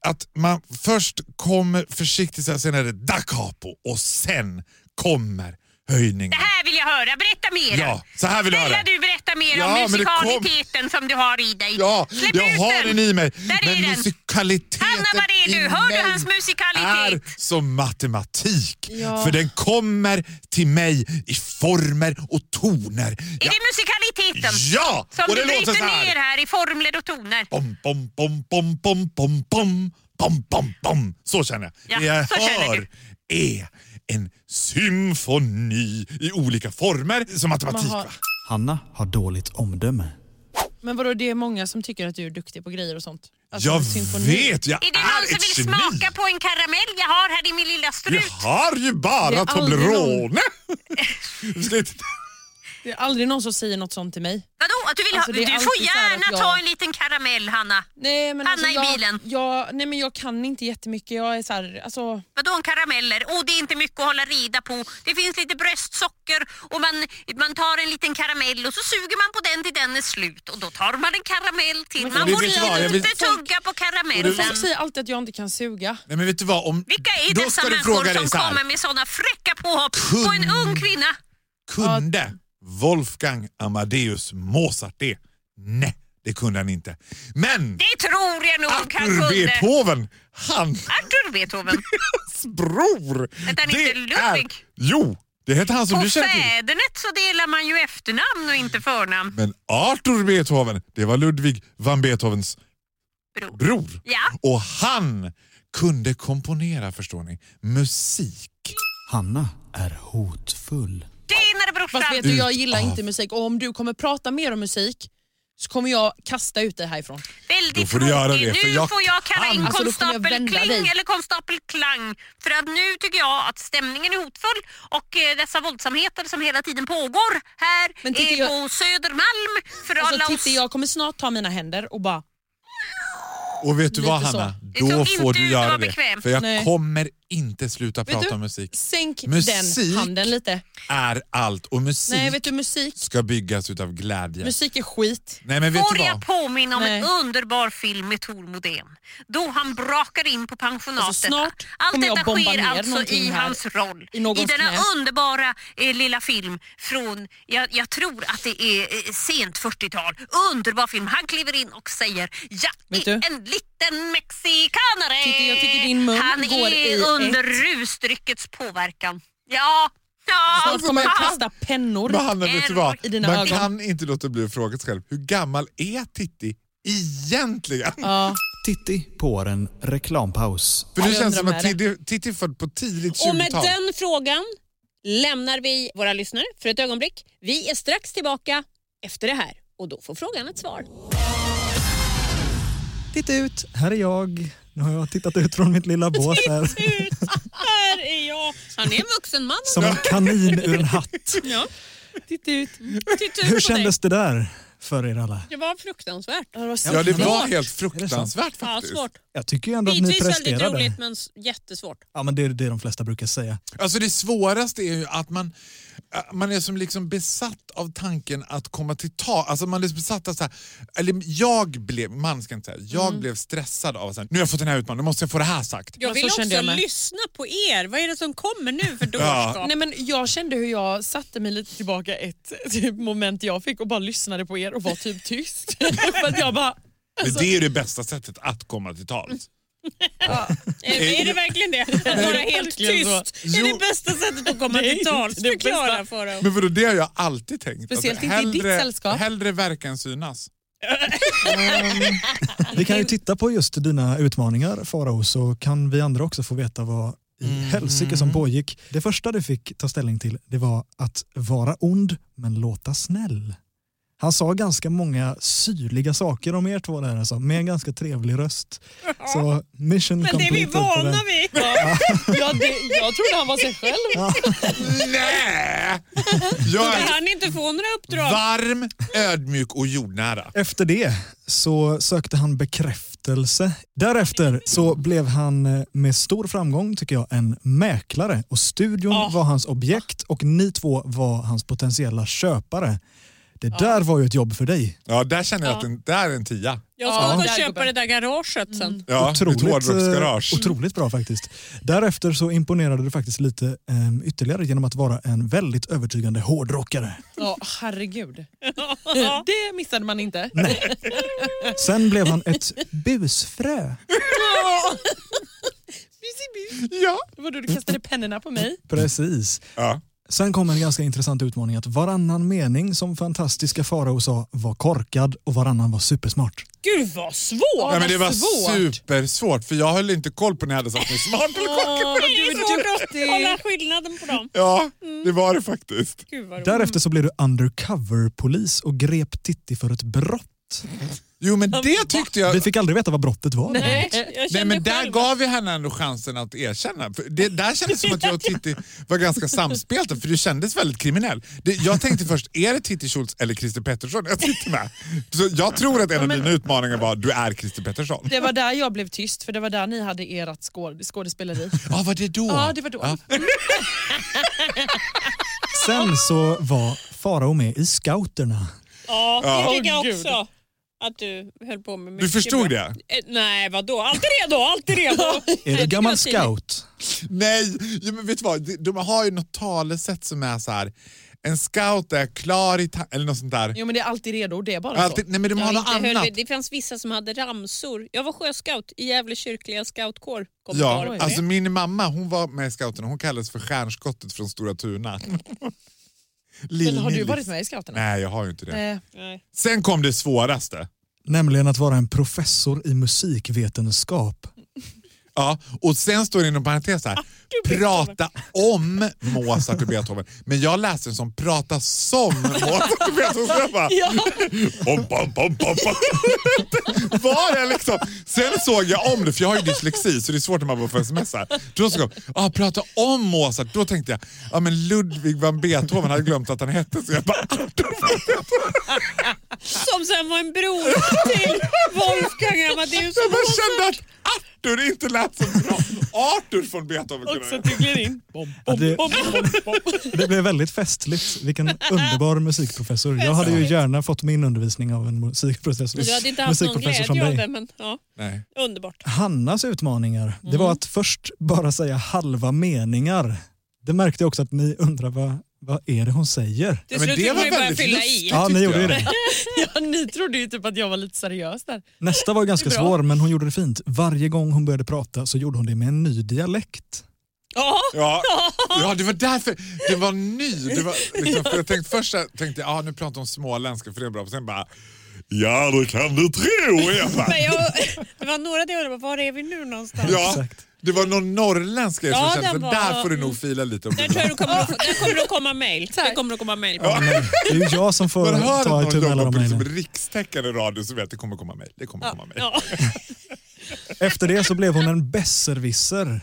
S5: att man först kommer försiktigt, så här, sen är det da capo och sen kommer höjningen.
S3: Det här vill jag höra, berätta mer.
S5: Ja, så här vill jag
S3: Snälla
S5: höra.
S3: du, berätta mer
S5: Ja,
S3: om
S5: men det kom-
S3: musikaliteten som du har i dig.
S5: Ja,
S3: Släpp
S5: jag
S3: ut
S5: har den i mig.
S3: Där är
S5: men
S3: den.
S5: musikaliteten
S3: Anna, vad är
S5: i
S3: du? Hör du
S5: mig
S3: hans musikalitet?
S5: är som matematik.
S3: Ja.
S5: För den kommer till mig i former och toner.
S3: Är det musikaliteten?
S5: Ja,
S3: Som
S5: och det
S3: du
S5: låter
S3: bryter
S5: så här.
S3: ner här i formler och toner.
S5: Bom, bom, bom, bom, bom, bom, bom, bom, bom, bom. Så känner jag.
S3: Ja,
S5: det jag
S3: så känner
S5: hör är en symfoni i olika former som matematik.
S4: Jaha.
S5: va?
S1: Hanna har dåligt omdöme.
S4: Men vadå, det är många som tycker att du är duktig på grejer och sånt. Alltså,
S5: Jag
S4: symfoni.
S5: vet, jag
S3: Är det någon som vill smaka på en karamell jag har här i min lilla
S5: Jag
S3: strut?
S5: har ju
S4: Det är
S5: bara
S4: aldrig
S5: Toblerone. [LAUGHS] Vi ska inte-
S4: Det är aldrig någon som säger något sånt till mig.
S3: Vadå? Att du vill
S4: Alltså,
S3: ha...
S4: det är
S3: Du får
S4: alltid så här att
S3: gärna
S4: jag-
S3: ta en liten karamell, Hanna.
S4: Nej, men
S3: Hanna
S4: alltså,
S3: i
S4: jag,
S3: bilen.
S4: Jag, nej men jag kan inte jättemycket. Jag är så här, alltså,
S3: Vadå en karameller? Åh, det är inte mycket att hålla reda på. Det finns lite bröstsocker och man, man tar en liten karamell och så suger man på den till den är slut och då tar man en karamell till.
S5: Men
S3: Man
S5: det
S3: får
S5: vet jag, jag
S3: inte
S5: vet-
S3: tugga på
S4: men
S3: karamellen.
S4: folk säger alltid att jag inte kan suga.
S5: Nej men vet du vad? Om,
S3: Vilka är
S5: då
S3: dessa
S5: ska du
S3: människor
S5: fråga
S3: som
S5: dig så här.
S3: kommer med såna fräcka påhopp på en ung kvinna?
S5: Kunde Wolfgang Amadeus Mozart det? Nej, det kunde han inte. Men
S3: Det tror jag nog han
S5: Arthur
S3: kunde.
S5: Beethoven, han
S3: Arthur Beethoven.
S5: bror.
S3: Vänta, han inte Ludvig?
S5: Jo, det heter han som
S3: På
S5: du känner till.
S3: fädernet så delar man ju efternamn och inte förnamn.
S5: Men Arthur Beethoven, det var Ludvig van Beethovens
S3: bror. Ja.
S5: Och han kunde komponera, förstår ni, musik.
S1: Hanna är hotfull.
S3: Tjenare brorsan!
S4: Fast vet du, jag gillar inte musik och om du kommer prata mer om musik så kommer jag kasta ut dig härifrån.
S3: Väldigt
S5: Då får du göra
S3: tråkig.
S5: det, för
S3: nu
S5: jag
S3: får jag kalla
S5: kan.
S3: in
S4: Alltså, då kommer jag
S3: konstapel
S4: vända
S3: Kling
S4: dig.
S3: eller konstapel Klang. För att nu tycker jag att stämningen är hotfull och eh, dessa våldsamheter som hela tiden pågår här
S4: Men titta,
S3: eh,
S4: jag-
S3: på Södermalm för alla
S4: Alltså,
S3: oss...
S4: titta, jag kommer snart ta mina händer och bara...
S5: Och vet du
S4: Lite
S5: vad
S4: så.
S5: Hanna,
S3: Det
S5: då
S3: såg
S5: får
S3: inte
S5: du
S3: ut att
S5: göra
S3: vara
S5: det.
S3: bekvämt.
S5: För jag
S4: Nej.
S5: kommer inte sluta
S4: Vet
S5: prata
S4: du,
S5: om musik.
S4: Sänk
S5: Musik.
S4: den handen lite.
S5: Är allt och musik
S4: Nej, vet du musik?
S5: ska byggas utav glädje.
S4: Musik är skit.
S5: Nej men vet
S3: Får
S5: du
S3: jag
S5: vad?
S3: påminna om en
S4: Nej.
S3: underbar film med Tor Modén? Då han brakar in på pensionatet.
S4: Alltså, snart
S3: Allt
S4: kommer jag
S3: detta
S4: bomba
S3: sker
S4: ner
S3: alltså
S4: någonting
S3: i
S4: här
S3: hans roll.
S4: i någons
S3: denna
S4: knä.
S3: underbara eh, lilla film från, jag, jag tror att det är eh, sent 40-tal. Underbar film. Han kliver in och säger Jag
S4: Vet
S3: är
S4: du?
S3: en liten mexikanare.
S4: Titta, jag tycker din mun
S3: han
S4: går
S3: är
S4: i
S3: under rusdryckets påverkan. Ja, ja.
S4: Snart kommer jag
S3: han-
S4: kasta pennor
S5: Men Hanna, vet du vad?
S4: i dina
S5: Man
S4: ögon.
S5: kan inte låta bli att fråga sig själv, hur gammal är Titti egentligen?
S4: Ja.
S1: Titti på en reklampaus.
S5: För det
S4: Jag
S5: känns
S4: undrar
S5: som
S4: med
S5: att Titti, Titti är född på tidigt
S10: Och med
S5: 20-tal.
S10: den frågan lämnar vi våra lyssnare för ett ögonblick. Vi är strax tillbaka efter det här och då får frågan ett svar.
S1: Titta ut, här är jag. Nu har jag tittat ut från mitt lilla bås här. [LAUGHS]
S10: Här är jag. Han är en vuxen man.
S1: Som en kanin ur en hatt.
S10: Ja.
S4: Titta ut.
S10: Titta ut
S1: Hur
S10: på dig.
S1: kändes det där? för er alla.
S3: Det var fruktansvärt. Ja, det
S1: svårt. Ja, det var helt fruktansvärt
S5: faktiskt.
S3: Ja, svårt.
S1: Jag tycker ju ändå att ni
S3: Bitvis väldigt
S1: presterade.
S3: roligt men s- jättesvårt.
S1: Ja, men det är det de flesta brukar säga.
S5: Alltså det svåraste är ju att man, att man är som liksom besatt av tanken att komma till ta. Alltså man är besatt av så här, eller jag blev, man ska inte säga, jag
S3: Mm.
S5: blev stressad av att nu har jag fått den här utmaningen, nu måste jag få det här sagt.
S3: Jag vill också lyssna på er. Vad är det som kommer nu för dårskap?
S5: Ja.
S4: Nej, men jag kände hur jag satte mig lite tillbaka ett typ, moment jag fick och bara lyssnade på er och var typ tyst. [LAUGHS] För att jag bara,
S5: Men det är ju det bästa sättet att komma till
S3: [LAUGHS]
S5: tals.
S3: Är, är det verkligen det? Att vara helt
S5: verkligen så.
S3: tyst? Det är det bästa sättet att
S4: [LAUGHS]
S3: komma
S5: Det är
S3: till tals.
S5: inte det bästa.
S3: Förklara för dem.
S5: Men vadå, det har jag alltid tänkt.
S3: Speciellt inte i ditt sällskap.
S5: Hellre verka än synas.
S1: Vi kan ju titta på just dina utmaningar Farao så kan vi andra också få veta vad i
S4: Mm.
S1: helsike som pågick. Det första du fick ta ställning till det var att vara ond men låta snäll. Han sa ganska många syrliga saker om er två där alltså, med en ganska trevlig röst. Så mission
S4: Men det är vi
S1: completed på den.
S4: vana vid. Ja, det, jag trodde han var sig själv.
S5: Nej!
S3: Jag [LAUGHS]
S5: Jag
S3: kan
S5: är
S3: han inte få några uppdrag.
S5: varm, ödmjuk och jordnära.
S1: Efter det så sökte han bekräftelse. Därefter så blev han eh, med stor framgång tycker jag en mäklare och studion var hans objekt och ni två var hans potentiella köpare. Det där var ju ett jobb för dig.
S5: Ja, där känner jag att den, där är en tia.
S3: Jag ska gå och köpa det där garaget sen.
S5: Ja, mitt hårdrocksgarage.
S1: eh, otroligt bra faktiskt. Därefter så imponerade du faktiskt lite eh, ytterligare genom att vara en väldigt övertygande hårdrockare.
S4: Ja,
S3: [LAUGHS]
S4: herregud. Det missade man inte.
S1: Sen blev han ett busfrö.
S5: Ja.
S4: Det var då du kastade pennorna på mig.
S1: Precis. Sen kom en ganska intressant utmaning att varannan mening som fantastiska Farao sa var korkad och varannan var supersmart.
S3: Gud vad svårt!
S5: Ja, men det var supersvårt för jag höll inte koll på när jag hade [LAUGHS] satt mig smart.
S3: Åh, vad du är duktig! Kolla skillnaden på dem.
S5: Ja, det var det faktiskt.
S3: Gud vad roligt.
S1: Därefter så blev du undercover-polis och grep Titti för ett brott.
S5: Jo men det tyckte jag...
S1: Vi fick aldrig veta vad brottet var.
S3: Nej, jag kände
S5: Nej men där
S3: själv.
S5: gav vi henne ändå chansen att erkänna. För det där kändes som att jag och Titti var ganska samspelta för det kändes väldigt kriminell. Det, jag tänkte först, är det Titti Schultz eller Christer Pettersson jag sitter med? Så jag tror att en av dina utmaningar var, du är Christer Pettersson.
S4: Det var där jag blev tyst, för det var där ni hade ert skåd skådespeleri.
S5: Ja, var det då?
S4: Ja, det var då.
S1: Sen så var Farao med i scouterna.
S3: Ja,
S1: Ja.
S3: det tycker jag
S1: Åh, gud.
S3: också. Att du höll på med
S1: Du förstod
S3: bra.
S1: det?
S3: Eh, Nej, vadå? Alltid redo, alltid redo.
S1: [LAUGHS] Är du gammal scout?
S5: Nej, ja, men vet du vad? De- De har ju något talesätt som är så här. en scout är klar i ta- eller något sånt där.
S4: Jo men det är alltid redo, det är bara
S5: Alltid-
S4: så.
S5: nej, men de
S3: Ja,
S5: har något
S3: inte höll
S5: annat.
S3: vi- Det fanns vissa som hade ramsor. Jag var sjöscout i Gävle kyrkliga scoutkår. Kommentar på
S5: Ja,
S3: det.
S5: alltså min mamma hon var med i scouterna, hon kallades för stjärnskottet från Stora
S4: [LAUGHS]
S5: Tuna. Lill-
S4: Men har du
S5: Nillis.
S4: varit med i Eh, Scouterna?
S5: Nej, jag har ju inte det.
S4: Nej.
S5: Sen kom det svåraste.
S1: Nämligen att vara en professor i musikvetenskap.
S5: Ja, och sen står det inom parentes
S4: Ah,
S5: här, prata om Mozart och Beethoven. Men jag läste det som prata som Mozart och Beethoven. Så jag bara, Pom, pom, pom, pom, pom. Var det liksom? Sen såg jag om det, för jag har ju dyslexi så det är svårt när man bara får sms. Här. Då såg jag, ah, prata om Mozart. Då tänkte jag, ah, men Ludwig van Beethoven hade glömt att han hette så. Jag bara, "Ah,
S3: Som sen var en bror
S1: [LAUGHS]
S3: till Wolfgang Amadeus
S5: jag bara kände att Arthur inte lät så bra. Arthur från Beethoven. Också att
S4: du gled in.
S1: Ja, det, [LAUGHS] det blev väldigt festligt. Vilken underbar musikprofessor. Jag hade ju gärna fått min undervisning av en musikprofessor,
S3: Du hade inte haft någon
S1: musikprofessor som
S3: glädje av
S1: dig.
S3: det, men ja.
S5: Nej.
S3: Underbart.
S1: Hannas utmaningar, det var att först bara säga halva meningar. Det märkte jag också att ni undrar vad, vad är det hon säger?
S4: Till Ja, men slut det fick var man ju börja väldigt fylla i. lustigt,
S1: Ja, ni
S4: tyckte
S1: gjorde ju
S4: jag.
S1: det.
S4: Ja, [LAUGHS] ni trodde ju typ att jag var lite seriös där.
S1: Nästa var ganska
S4: Det är bra.
S1: svår men hon gjorde det fint. Varje gång hon började prata så gjorde hon det med en ny dialekt.
S4: Ja.
S5: Ja. ja, det var därför. Det var ny. Det var, liksom, för jag tänkte, först så här tänkte jag, ah, nu pratar hon småländska för det är bra. Och sen bara, ja det kan du tro. Och Jag
S3: [LAUGHS]
S5: bara,
S3: Men jag, det var några där jag undrade, var är vi nu någonstans?
S5: ja, det var någon norrländska jag
S3: Ja,
S5: kände,
S3: den
S5: så
S3: var-
S5: där får du nog fila lite. Om
S3: Där
S5: du
S3: tror jag det kommer, att, där kommer det att komma mejl. Det kommer att komma mejl. på.
S1: Det är ju jag som får
S5: [LAUGHS] man hör
S1: ta
S5: att
S1: itu
S5: någon
S1: med alla
S5: jobbar
S1: de
S5: på liksom
S1: mejlen.
S5: rikstäckande radio så vet jag att det kommer komma mejl. Eh, Det kommer komma mejl.
S1: Efter det så blev hon en besserwisser.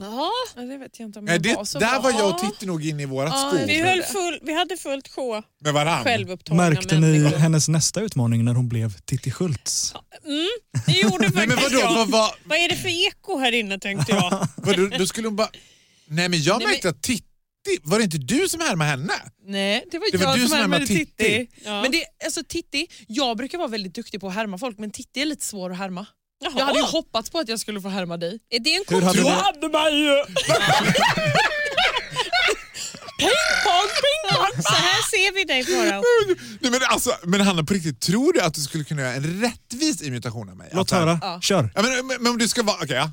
S3: Ja.
S4: det vet jag inte om
S5: Nej,
S4: jag
S5: det,
S4: var så
S5: där
S4: bra.
S5: var jag
S4: Ja.
S5: och Titti nog inne i vårat
S4: Ja,
S5: skåp.
S3: Vi, höll full, vi hade fullt sjå.
S5: Med varann.
S3: Självupptagna
S1: Märkte ni
S3: människor.
S1: hennes nästa utmaning när hon blev Titti Schultz?
S3: Mm, det gjorde faktiskt
S5: men vadå,
S3: jag.
S5: vad var-
S3: Vad är det för eko här inne tänkte jag.
S5: Vadå, då skulle hon bara... Nej men jag
S3: Nej,
S5: märkte att Titti, var det inte du som härmade henne?
S4: Nej, det var
S5: Det var
S4: jag
S5: du
S4: som
S5: som
S4: härmade
S5: härmade
S4: Titti.
S5: Titti.
S3: Ja.
S4: Men det, alltså, Titti, jag brukar vara väldigt duktig på att härma folk, men Titti är lite svår att härma.
S3: Jaha.
S4: Jag hade ju hoppats på att jag skulle få härma dig.
S3: Är det en
S1: Hur hade
S4: Du
S1: ni-
S4: hade mig ju!
S3: Pong, ping, pong. Så här ser vi dig Farao.
S5: Nej, men, alltså, men Hanna, på riktigt, tror du att du skulle kunna göra en rättvis imitation av mig?
S1: Låt
S5: Alltså,
S1: höra.
S4: Ja.
S1: Kör.
S5: Ja, men, men, men om du ska vara... Okej, ja.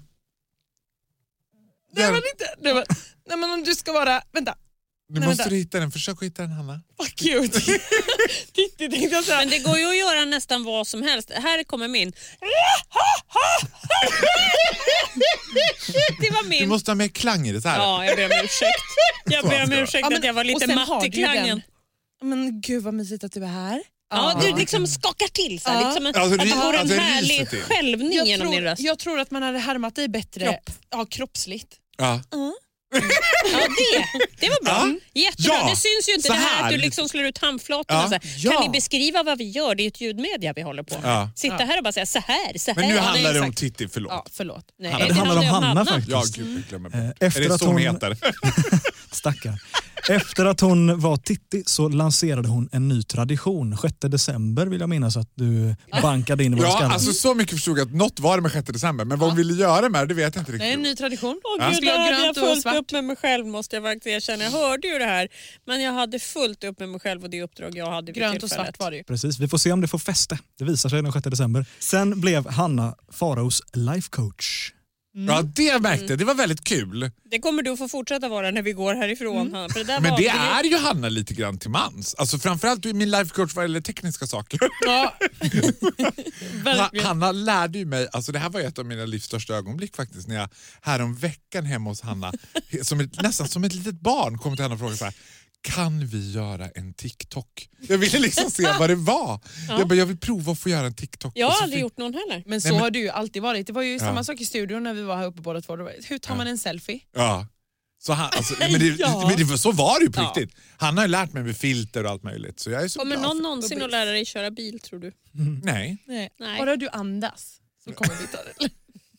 S4: Nej
S5: Där.
S4: men, inte, nej, men, nej men om du ska vara... Vänta.
S5: Nu
S4: Nej,
S5: måste
S4: vänta.
S5: du hitta den. Försök att hitta den, Hanna.
S4: Fuck you. Titti tänkte jag säga.
S3: Men det går ju att göra nästan vad som helst. Här kommer min. Det var
S5: Du
S3: min.
S5: måste ha mer klang i det. Så här.
S3: Ja, jag ber om ursäkt. [LAUGHS] Jag
S5: Så
S3: ber om
S5: ska jag.
S3: ursäkt att jag var
S4: och
S3: lite
S4: sen har
S3: matt i
S4: du ju den.
S3: klangen.
S4: Men gud vad mysigt att du är här.
S3: Ja, du liksom skakar till så här,
S4: Ja.
S3: liksom en,
S5: Alltså,
S3: att
S5: ri-
S3: det går en
S5: alltså, ryser
S3: härlig
S5: till.
S3: skälvning
S4: jag,
S3: genom
S4: tror,
S3: din röst.
S4: jag tror att man hade härmat dig bättre ja, kroppsligt.
S5: Ja.
S3: Ja, det, det var bra. Jättebra.
S5: Ja,
S3: Det syns ju inte
S5: så
S3: det här
S5: här.
S3: att du liksom slår ut handflatorna.
S5: Ja,
S3: Så här.
S5: ja.
S3: Kan ni beskriva vad vi gör? Det är ju ett ljudmedia vi håller på med.
S5: Ja.
S3: Sitta här och bara säga så här, så här.
S5: Men nu
S3: Ja,
S5: handlar det om
S3: exakt.
S5: Titti, förlåt.
S4: Ja, förlåt.
S3: Nej,
S1: Det handlar om Hanna
S5: Ja,
S1: faktiskt.
S5: gud, jag glömmer
S1: Eh,
S5: bort.
S1: efter
S5: är det
S1: att
S5: så hon
S1: hon-
S5: heter?
S1: Stackarn. Efter att hon var Titti så lanserade hon en ny tradition. 6 december vill jag minnas att du bankade in i våra
S5: Ja,
S1: skallar.
S5: alltså så mycket förstod jag att något var det med 6 december, men vad hon ville göra med det, det vet jag inte
S4: Det är en
S5: riktigt.
S4: ny tradition.
S3: Åh gud,
S4: Skulle
S3: där
S4: jag
S3: hade jag
S4: grönt och
S3: fullt
S4: svart?
S3: upp med mig själv måste jag faktiskt erkänna. Jag hörde ju det här, men jag hade fullt upp med mig själv och det uppdrag jag hade vid
S4: Grönt och
S3: tillfället.
S4: svart var det ju.
S1: Precis, vi får se om det får fäste. Det visar sig den 6 december. Sen blev Hanna Faraos life coach.
S5: Ja,
S4: Mm.
S5: det märkte jag. Det var väldigt kul.
S3: Det kommer du att få fortsätta vara när vi går härifrån.
S4: Mm.
S3: Hanna, För det där
S5: Men
S3: var
S5: det
S3: aldrig-
S5: är ju Hanna lite grann till mans. Alltså framförallt du är min life coach vad gäller tekniska saker.
S4: [LAUGHS] Ja,
S5: Ha, Hanna lärde ju mig, alltså det här var ju ett av mina livs största ögonblick faktiskt, när jag härom veckan hemma hos Hanna, [LAUGHS] he- som ett, nästan som ett litet barn, kom till henne och frågade så här, kan vi göra en TikTok? Jag ville liksom se vad det var. Jag, bara, jag vill prova att få göra en TikTok.
S3: Jag
S5: Och
S3: har
S5: så
S3: aldrig
S5: fick-
S3: gjort någon heller.
S4: men så
S5: Nej, men-
S4: har du ju alltid varit. Det var ju samma
S5: Ja.
S4: sak i studion när vi var här uppe båda två. Det var, Hur tar man en selfie?
S5: Ja. Så han, alltså, men det,
S4: Ja.
S5: men det, så var det ju på
S4: Ja.
S5: riktigt. Han har ju lärt mig med filter och allt möjligt. Så jag är så
S3: Kommer
S5: glad
S3: någon
S5: för-
S3: någonsin att lära dig köra bil tror du?
S5: Nej.
S4: Nej.
S3: Nej.
S4: Bara du andas så kommer vi ta det.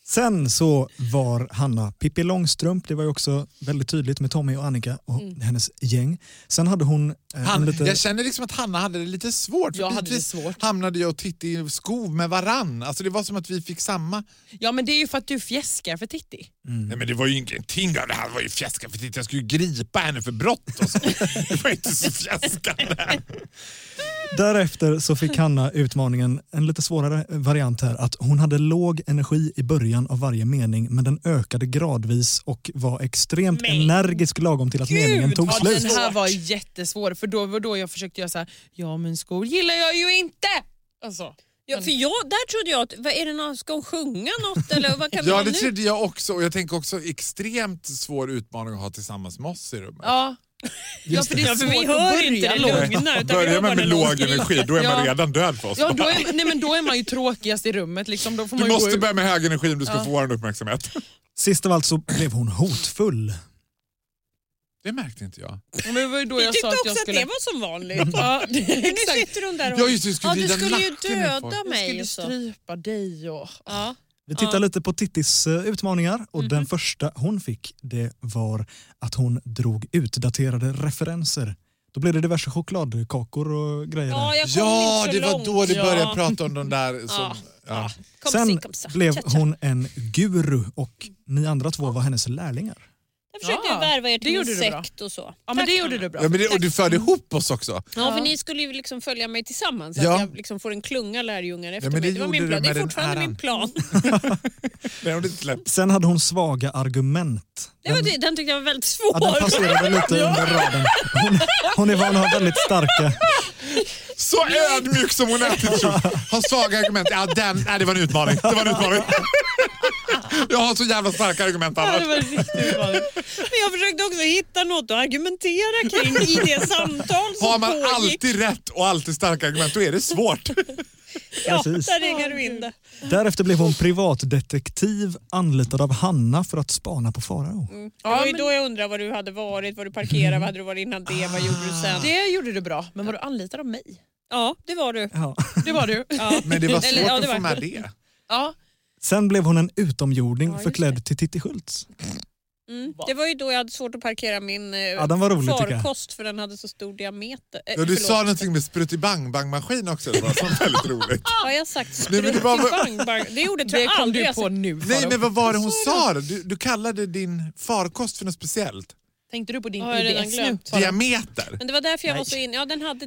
S1: Sen så var Hanna Pippi Långstrump, det var ju också väldigt tydligt med Tommy och Annika och hennes gäng. Sen hade hon eh,
S5: Han,
S1: en lite...
S5: Jag känner liksom att Hanna hade det lite svårt. för
S4: Jag hade det
S5: bitvis
S4: svårt.
S5: hamnade jag och Titti i skov med varann. Alltså det var som att vi fick samma...
S4: Ja men det är ju för att du fjäskar för Titti.
S5: Nej men det var ju ingenting av det här. Det var ju fjäska för Titti. Jag skulle ju gripa henne för brott. Och så. [LAUGHS] det var inte så
S3: [LAUGHS]
S5: fjäskande.
S1: Därefter så fick Hanna utmaningen, en lite svårare variant här, att hon hade låg energi i början av varje mening men den ökade gradvis och var extremt
S3: Men
S1: energisk lagom till att meningen tog
S4: Ja,
S1: slut.
S4: den här var jättesvår för då var då jag försökte göra så här. ja men skor gillar jag ju inte. Alltså,
S3: Ja, för jag, där trodde jag att, vad är det någon, ska hon sjunga något eller vad kan det
S5: [LAUGHS] Ja
S3: vara
S5: det
S3: nu?
S5: trodde jag också. Och jag tänker också extremt svår utmaning att ha tillsammans med oss i rummet. [LAUGHS]
S4: ja. ja för det är
S3: Ja, för
S4: svårt
S3: vi
S4: att
S3: hör
S4: börja
S3: inte det
S4: långt.
S3: lugna. Utan vi
S5: Börjar
S3: hör bara
S5: man med
S3: när någon
S5: låg
S3: skriker.
S5: energi då är man
S4: Ja.
S5: redan död för oss.
S4: Ja, då är, nej, men då är man ju tråkigast i rummet. Liksom. Då får man
S5: Du
S4: ju
S5: måste
S4: gå ut.
S5: börja med hög energi om du ska få vår uppmärksamhet.
S1: Sist av allt så blev hon hotfull.
S5: Det märkte inte jag.
S4: Men det var ju då
S3: Vi
S4: jag
S3: tyckte
S4: sa att
S3: också
S4: jag
S3: att,
S4: skulle...
S3: det var som vanligt. [LAUGHS]
S4: Ja,
S3: nu
S4: exakt.
S3: sitter hon där och...
S5: Ja, just det, du skulle
S3: du
S5: vrida
S3: skulle ju
S5: nacken ur folk.
S3: döda
S4: Jag skulle
S3: mig. Så.
S4: strypa dig och...
S3: Ja.
S1: Vi tittar
S3: Ja. Mhm.
S1: lite på Tittis eh, utmaningar och den första hon fick det var att hon drog utdaterade referenser. Då blev det diverse chokladkakor och grejer. där.
S3: Ja, jag kom
S5: Ja,
S3: inte så
S5: det var
S3: långt.
S5: då du började
S3: Ja.
S5: prata om de där som...
S3: Ja.
S5: Ja.
S3: Kom,
S1: Sen
S3: se, kom, se.
S1: blev
S3: Tja, tja.
S1: hon en guru och ni andra två var hennes lärlingar.
S3: Jag försökte
S4: Ja,
S3: ju värva er
S4: det
S3: till en
S4: gjorde du bra.
S3: sekt och så.
S4: Ja, men
S3: Tack,
S4: det gjorde
S3: Hanna.
S4: du bra.
S5: Ja, men det, och du förde ihop oss också.
S3: Ja, för ni skulle ju liksom följa mig tillsammans.
S5: Ja.
S3: Att jag liksom får en klunga lärjungar efter
S5: men
S3: mig.
S5: det
S3: Det, var
S5: gjorde
S3: min
S5: du
S3: plan. det
S5: med
S3: är
S5: den
S3: fortfarande
S5: äran.
S3: min plan.
S5: Nej, om det inte släpps.
S1: Sen hade hon svaga argument.
S3: [LAUGHS] Det var, det- den tyckte jag var väldigt svår.
S1: Ja, den passerade lite under raden. Hon, hon är van att ha väldigt starka...
S5: Så ödmjuk som hon är till slut. Har svaga argument. Ja, den, nej, det var en utmaning. Det var en utmaning. Jag har så jävla starka argument
S4: Ja, det
S5: annars.
S4: var
S3: [LAUGHS]
S4: riktigt vanligt.
S3: [LAUGHS] Men jag försökte också hitta något att argumentera kring
S5: [LAUGHS]
S3: i det samtal som
S5: Har man
S3: pågick.
S5: alltid rätt och alltid starka argument då är det svårt.
S3: [LAUGHS] Ja,
S1: Precis.
S3: där ringer du in det.
S1: Därefter blev hon privatdetektiv anlitad av Hanna för att spana på Farao.
S3: Mm. Det var ju då jag undrade var du hade varit, var du parkerade, vad hade du varit innan det, vad gjorde du
S5: Ah.
S3: sen?
S4: Det gjorde du bra, men var du anlitad av mig?
S3: Ja, det var du.
S1: Ja.
S4: Det var du. [LAUGHS]
S3: Ja.
S5: [LAUGHS] Men det var svårt
S3: Eller, ja,
S5: att
S3: var
S5: få med
S3: du.
S5: det.
S4: Ja.
S1: Sen blev hon en utomjording
S3: Ja, just
S1: förklädd till Titti Schultz.
S3: Mm. Det var ju då jag hade svårt att parkera min eh,
S1: Ja, den var rolig, tycker jag.
S3: farkost för den hade så stor diameter. Eh,
S5: Ja, du
S3: förlåt.
S5: sa någonting med sprutt-i-bang-bang-maskin också. Det var sånt väldigt roligt.
S3: Har jag sagt
S5: Nej, men det var-
S3: sprutibang? Det gjorde tror jag aldrig jag sagt.
S5: [LAUGHS] Nej, men vad var det hon sa? då? Du, du kallade din farkost för något speciellt.
S4: Tänkte du på din
S3: Ja, jag har redan
S4: IBS nu?
S3: glömt.
S5: Diameter.
S3: Men det var därför jag var så in. Ja, den hade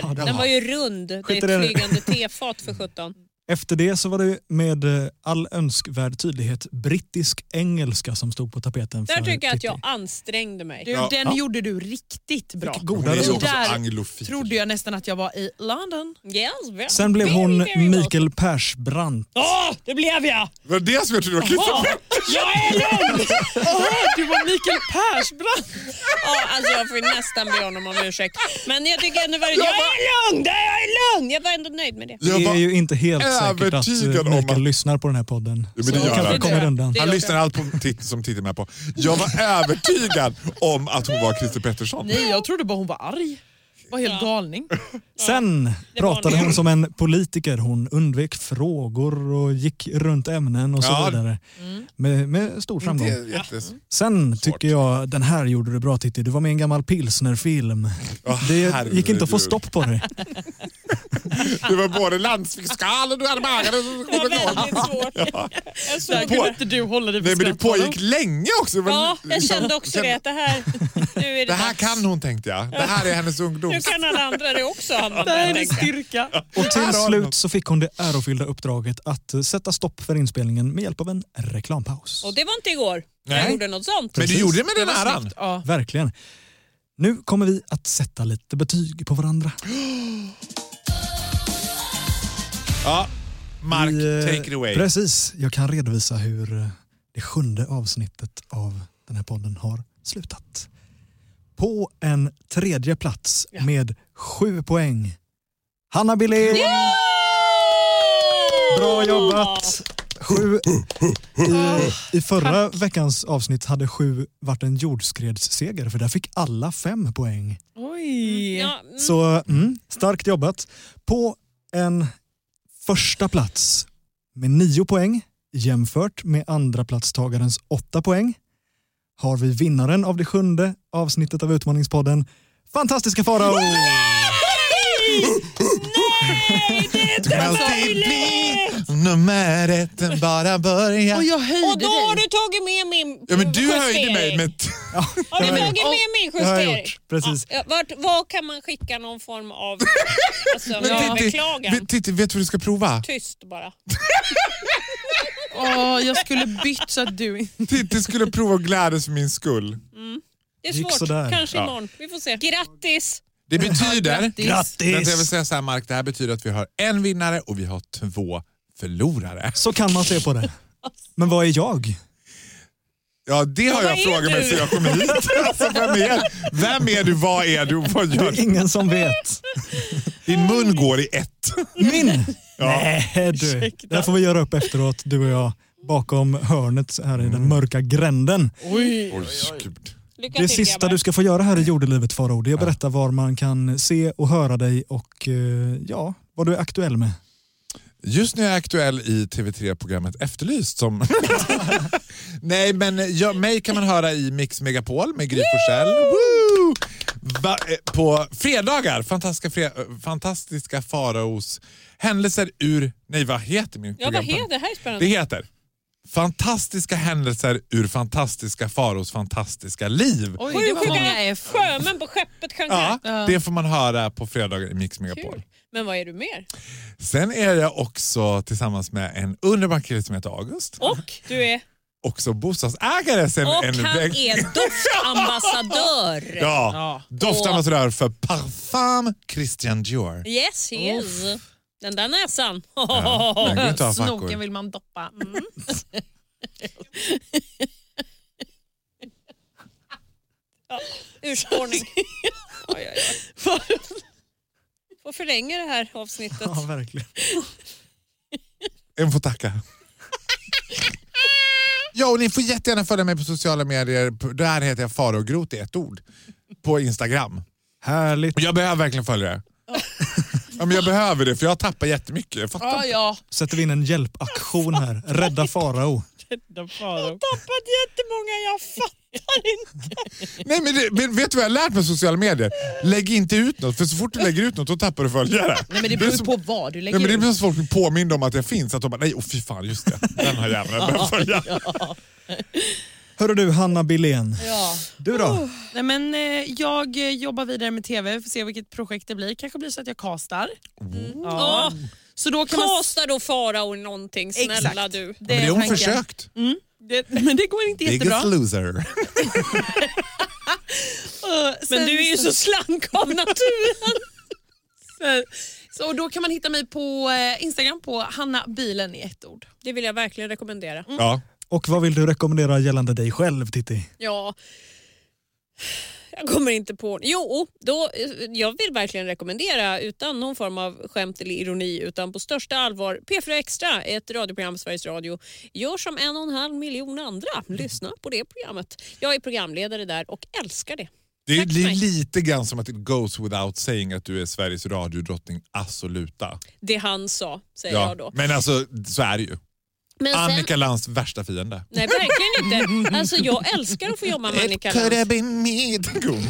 S1: [LAUGHS] Ja, det
S3: den
S1: var-
S3: var ju rund. Det
S1: Skit i
S3: är
S1: det nu.
S3: ett flygande tefat för sjutton.
S1: Efter det så var det med eh, all önskvärd tydlighet brittisk engelska som stod på tapeten.
S3: Där
S1: för typ-
S3: tycker jag att
S1: Titti.
S3: jag ansträngde mig.
S4: Du,
S1: Ja.
S4: Den
S1: Ja.
S4: gjorde du riktigt bra.
S1: Vilket goda Hon är ju resultat. också
S4: Där
S1: anglofil.
S4: trodde jag nästan att jag var i London.
S3: Yes, very,
S1: Sen blev
S3: very,
S1: hon
S3: very well.
S1: Mikael Persbrandt.
S3: Ja, det blev jag!
S5: Det var det som jag trodde var
S3: Jaha,
S5: Christer
S3: jag är
S4: [LAUGHS]
S3: lugn!
S4: du var Mikael Persbrandt.
S3: Ja, alltså jag får ju nästan be honom om ursäkt. Men jag tycker ändå var det...
S5: Jag
S3: Jag
S5: var-
S3: är lugn! Jag är lugn! Jag var ändå nöjd med det.
S1: Det är ju inte helt säkert att
S5: övertygad
S1: eh,
S5: om
S1: Mikael
S5: att-
S1: lyssnar på den här podden.
S5: Jo,
S1: Så
S5: men det
S1: han
S5: gör
S1: kanske
S5: han.
S1: kommer undan.
S5: Han lyssnar allt på titt, som tittar med på. Jag var övertygad om att hon var Christer Pettersson.
S4: Nej, jag trodde bara hon var arg. Var helt galning.
S1: Sen pratade hon som en politiker. Hon undvek frågor och gick runt ämnen och så
S5: Ja.
S1: vidare. Med, med stor framgång.
S5: Det är jättes-
S1: Sen tycker jag, den här gjorde du bra Titti. Du var med i en gammal pilsnerfilm.
S5: Åh,
S1: det
S5: herregud.
S1: gick inte att få stopp på det.
S5: Du var både landsfiskal och du hade magen.
S3: Det var väldigt
S1: [LAUGHS]
S3: svårt. Jag
S4: Där
S3: såg
S4: kunde
S3: det.
S4: inte du hålla dig för
S5: Nej, men det
S4: skratt, Adam.
S5: pågick länge också. Det var-
S3: Ja, jag kände också det. att Det här, nu är det,
S5: Det här
S3: dags.
S5: kan hon tänkte jag. Det här är hennes ungdom.
S3: Nu kan alla andra det också. Hanna.
S4: Det här är
S3: Jag
S4: din
S3: tänkte.
S4: styrka.
S1: Och till slut så fick hon det ärofyllda uppdraget att eh, sätta stopp för inspelningen med hjälp av en reklampaus.
S3: Och det var inte igår.
S1: Nej.
S3: Jag gjorde något sånt.
S1: Men du gjorde det med den
S3: var
S1: äran.
S3: snyggt.
S4: Ja.
S1: Verkligen. Nu kommer vi att sätta lite betyg på varandra.
S5: Ja, Mark,
S1: Vi, eh,
S5: take it away.
S1: Precis. Jag kan redovisa hur eh, det sjunde avsnittet av den här podden har slutat. På en tredje plats med sju poäng. Hanna Billén! Bra jobbat! Sju. I, I förra veckans avsnitt hade sju varit en jordskredsseger för där fick alla fem poäng.
S4: Oj.
S3: Ja, mm.
S1: Så mm, starkt jobbat. På en första plats med nio poäng jämfört med andra platstagarens åtta poäng har vi vinnaren av det sjunde avsnittet av Utmaningspodden, fantastiska Farao!
S5: Du kan alltid bli nummer ett, än bara börja.
S4: Och jag
S3: Och då
S4: höjde
S3: har
S4: dig.
S3: du tagit med min
S5: Ja, men du
S3: justering.
S5: höjde mig med... t-
S3: Har du
S1: Ja, ja.
S3: tagit med min
S1: Det har jag
S3: justering?
S1: gjort, precis.
S3: Ja, vart, var kan man skicka någon
S1: [LAUGHS]
S3: form av alltså,
S5: Men Titti,
S3: beklagan?
S5: vet- Titti, vet du vad du ska prova?
S3: Tyst bara.
S4: Åh, jag skulle bytt så att du inte...
S5: Titti skulle prova glädjes för min skull.
S3: Det är
S1: Gick
S3: svårt.
S1: sådär.
S3: Kanske
S5: Ja.
S3: imorgon. Vi får se. Grattis!
S5: Det betyder... Vänta, jag vill
S1: Grattis!
S5: säga så här, Mark, det här betyder att vi har en vinnare och vi har två förlorare.
S1: Så kan man se på det. Men vad är jag?
S5: Ja, det har
S3: vad
S5: jag
S3: är
S5: frågat mig
S3: du?
S5: så jag kommer hit. Alltså, vem, är, vem är du? Vad är du? Vad
S1: Det
S5: gör
S1: är
S5: du?
S1: ingen som vet.
S5: Din mun går i ett.
S1: Min?
S5: Ja.
S1: Nej du, det här får vi göra upp efteråt du och jag bakom hörnet här i den mörka gränden.
S5: Oj, gud.
S3: Lycka
S1: Det
S3: till
S1: sista
S3: grabbar.
S1: du ska få göra här i jordelivet Farao, det är att berätta var man kan se och höra dig och eh, ja, vad du är aktuell med.
S5: Just nu är jag aktuell i TV3-programmet Efterlyst. Som [LAUGHS] Nej, men jag, mig kan man höra i Mix Megapol med Gry Forssell. Woo! Va- eh, På fredagar, fantastiska, fre eh, fantastiska Faraos händelser ur... Nej, vad heter min
S3: Ja, vad
S5: programpunkt?
S3: heter det? här är
S5: Det
S3: spännande.
S5: heter Fantastiska händelser ur fantastiska Faraos fantastiska liv.
S4: Oj, det
S3: Sju
S4: var många
S3: sjuka
S4: F.
S3: sjömän på skeppet sjöng
S5: Ja,
S3: ja.
S5: det får man höra på fredagar i Mix Megapol.
S3: Kul. Men vad är du mer?
S5: Sen är jag också tillsammans med en underbar kille som heter August.
S3: Och du är?
S5: Också bostadsägare sen
S3: Och
S5: en
S3: han
S5: väg-
S3: är doftambassadör.
S5: Ja, doftambassadör för Parfum Christian Dior.
S3: Yes, he is. Den där näsan. [LAUGHS]
S5: den går inte av fackor.
S4: Snoken vill man doppa. Mm.
S3: Urspårning. Oj, oj, oj. får förlänga det här avsnittet.
S1: Ja, verkligen.
S5: En får tacka. ja, och ni får jättegärna följa mig på sociala medier. P- Där heter jag Faro Groth i ett ord. På Instagram.
S1: Härligt.
S5: Jag behöver verkligen följa det. ja, men jag behöver det för jag tappar jättemycket. Jag fattar.
S4: Ja, ja.
S1: Sätter vi in en hjälpaktion här. Rädda Farao.
S4: Jag har
S3: tappat jättemånga, jag fattar inte.
S5: Nej, men det, men vet du vad jag har lärt mig av sociala medier? Lägg inte ut något för så fort du lägger ut något då tappar du följare.
S4: Nej, men det
S5: är
S4: beror ju
S5: som-
S4: på vad du lägger
S5: Nej, men det
S4: ut.
S5: blir som folk blir påminda om att jag finns. Att de bara, nej, oh, fy fan, just det. Den här jäveln behöver följa.
S1: Hörru du, Hanna Billén.
S4: Ja.
S1: Du då?
S4: Nej, men, eh, jag eh, jobbar vidare med tv, får se vilket projekt det blir. kanske blir så att jag castar. Ja.
S3: Ja.
S4: Så då kan man...
S3: Kasta då farao någonting, snälla
S4: Exakt.
S3: du.
S4: Det är tanken. Mm. Det, [LAUGHS] men det går inte jättebra.
S5: loser.
S3: Men du är ju så slank av naturen.
S4: Så då kan man hitta mig på eh, Instagram på Hanna Bilen i ett ord.
S3: Det vill jag verkligen rekommendera.
S5: Ja.
S1: Och vad vill du rekommendera gällande dig själv, Titti?
S3: Ja. Jag kommer inte på... Jo, då, jag vill verkligen rekommendera utan någon form av skämt eller ironi utan på största allvar P4 Extra, ett radioprogram på Sveriges Radio. Gör som en och en halv miljon andra. Lyssna på det programmet. Jag är programledare där och älskar det.
S5: Det är
S3: Tack för mig.
S5: li- lite grann som att it goes without saying att du är Sveriges radiodrottning absoluta.
S3: Det han sa, säger jag då.
S5: Men alltså, så är det ju.
S3: Men sen-
S5: Annika Lantz värsta fiende.
S3: Nej, verkligen inte. Alltså, jag älskar att få jobba med Annika Lantz.
S5: been me. Gun.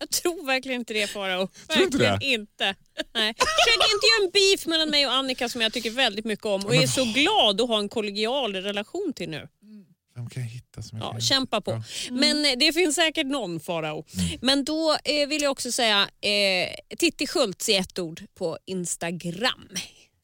S3: Jag tror verkligen inte det Farao.
S5: Tror inte det?
S3: Verkligen inte. Nej. Försök inte göra en beef mellan mig och Annika som jag tycker väldigt mycket om och
S5: Men-
S3: är så glad att ha en kollegial relation till nu.
S5: Vem kan jag hitta som jag
S3: Ja,
S5: kan-
S3: kämpa på. Men eh, det finns säkert någon Farao. Men då eh, vill jag också säga eh, Titti Schultz i ett ord på Instagram.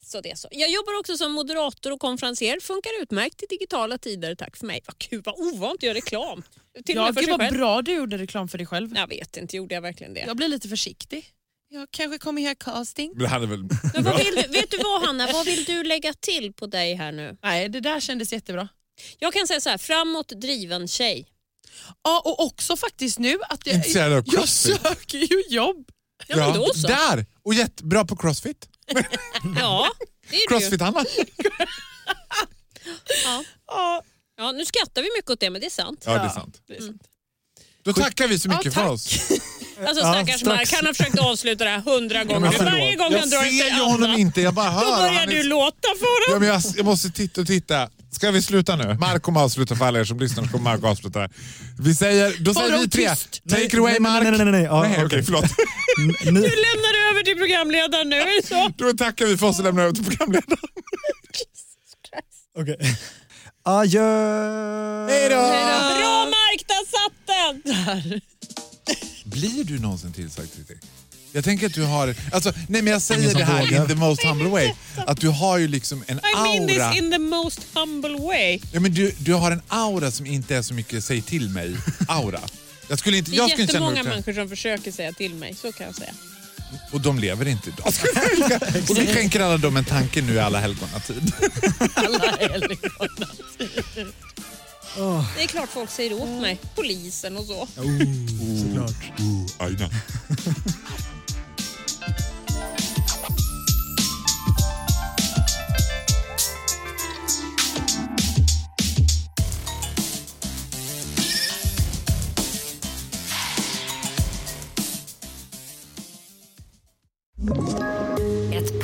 S3: Så det är så. Jag jobbar också som moderator och konferenser. Funkar utmärkt i digitala tider. Tack för mig. Vad kul, vad ovant att göra reklam. Till och
S4: Ja,
S3: med för
S4: gud
S3: sig
S4: vad
S3: själv.
S4: bra du gjorde reklam för dig själv.
S3: Jag vet inte, gjorde jag verkligen det?
S4: Jag blir lite försiktig. Jag kanske kommer göra casting.
S5: Det hade väl...
S3: Men vad vill du, vet du vad Hanna, vad vill du lägga till på dig här nu?
S4: Nej, det där kändes jättebra.
S3: Jag kan säga så här, framåt driven tjej.
S4: Ja, och också faktiskt nu att jag,
S5: Intresserad av
S4: jag
S5: crossfit.
S4: söker ju jobb.
S3: Ja, men då så.
S5: Där! Och jättebra på crossfit.
S3: Ja, det är du ju.
S5: Crossfit-Hanna.
S4: Ja,
S3: Ja, nu skrattar vi mycket åt det, men det är sant.
S5: Ja, det är sant.
S3: Mm.
S5: Då tackar vi så mycket för oss.
S3: Alltså
S1: Ja,
S3: stackars
S1: strax.
S3: Mark, han har försökt avsluta det här hundra gånger.
S5: men
S3: Men varje
S5: förlåt.
S3: gång
S5: Jag
S3: han drar
S5: ser
S3: efter
S5: ju honom
S3: Anna,
S5: inte, jag bara hör.
S3: då börjar
S5: Han är-
S3: du låta för
S5: Ja,
S3: honom.
S5: men jag, jag måste titta och titta. Ska vi sluta nu? Mark kommer avsluta för alla er som lyssnar. så Kommer Mark avsluta det här. Vi säger, då säger
S4: Farao,
S5: vi tre.
S4: tyst.
S5: Take it away
S1: nej,
S5: Mark.
S1: Nej, nej, nej. nej. Ja,
S5: Nej,
S1: okej.
S5: okej,
S3: [LAUGHS]
S5: förlåt.
S1: N- ni-
S3: Du lämnar över till programledaren nu, är det så?
S5: Då tackar vi för oss och lämnar över till programledaren.
S1: okej. Adjö!
S5: Hej då!
S3: Bra Mark, där satt den!
S5: Blir du någonsin tillsagd Titti? Jag tänker att du har, alltså, nej men jag
S1: Ingen
S5: säger
S1: som
S5: det här
S1: vågar.
S5: in the most humble way, att du har ju liksom en
S3: I mean
S5: aura.
S3: this in the most humble way.
S5: Ja, men du, du har en aura som inte är så mycket säg till mig-aura. Jag skulle inte,
S3: Det är
S5: jag skulle inte känna mig
S3: jättemånga människor som försöker säga till mig, så kan jag säga.
S5: Och de lever inte
S3: [LAUGHS]
S5: idag. och vi skänker alla dem en tanke nu i alla helgonatid.
S3: Det är klart folk säger åt mig, polisen och så.
S1: Oh, såklart.
S5: Aina.
S9: Ett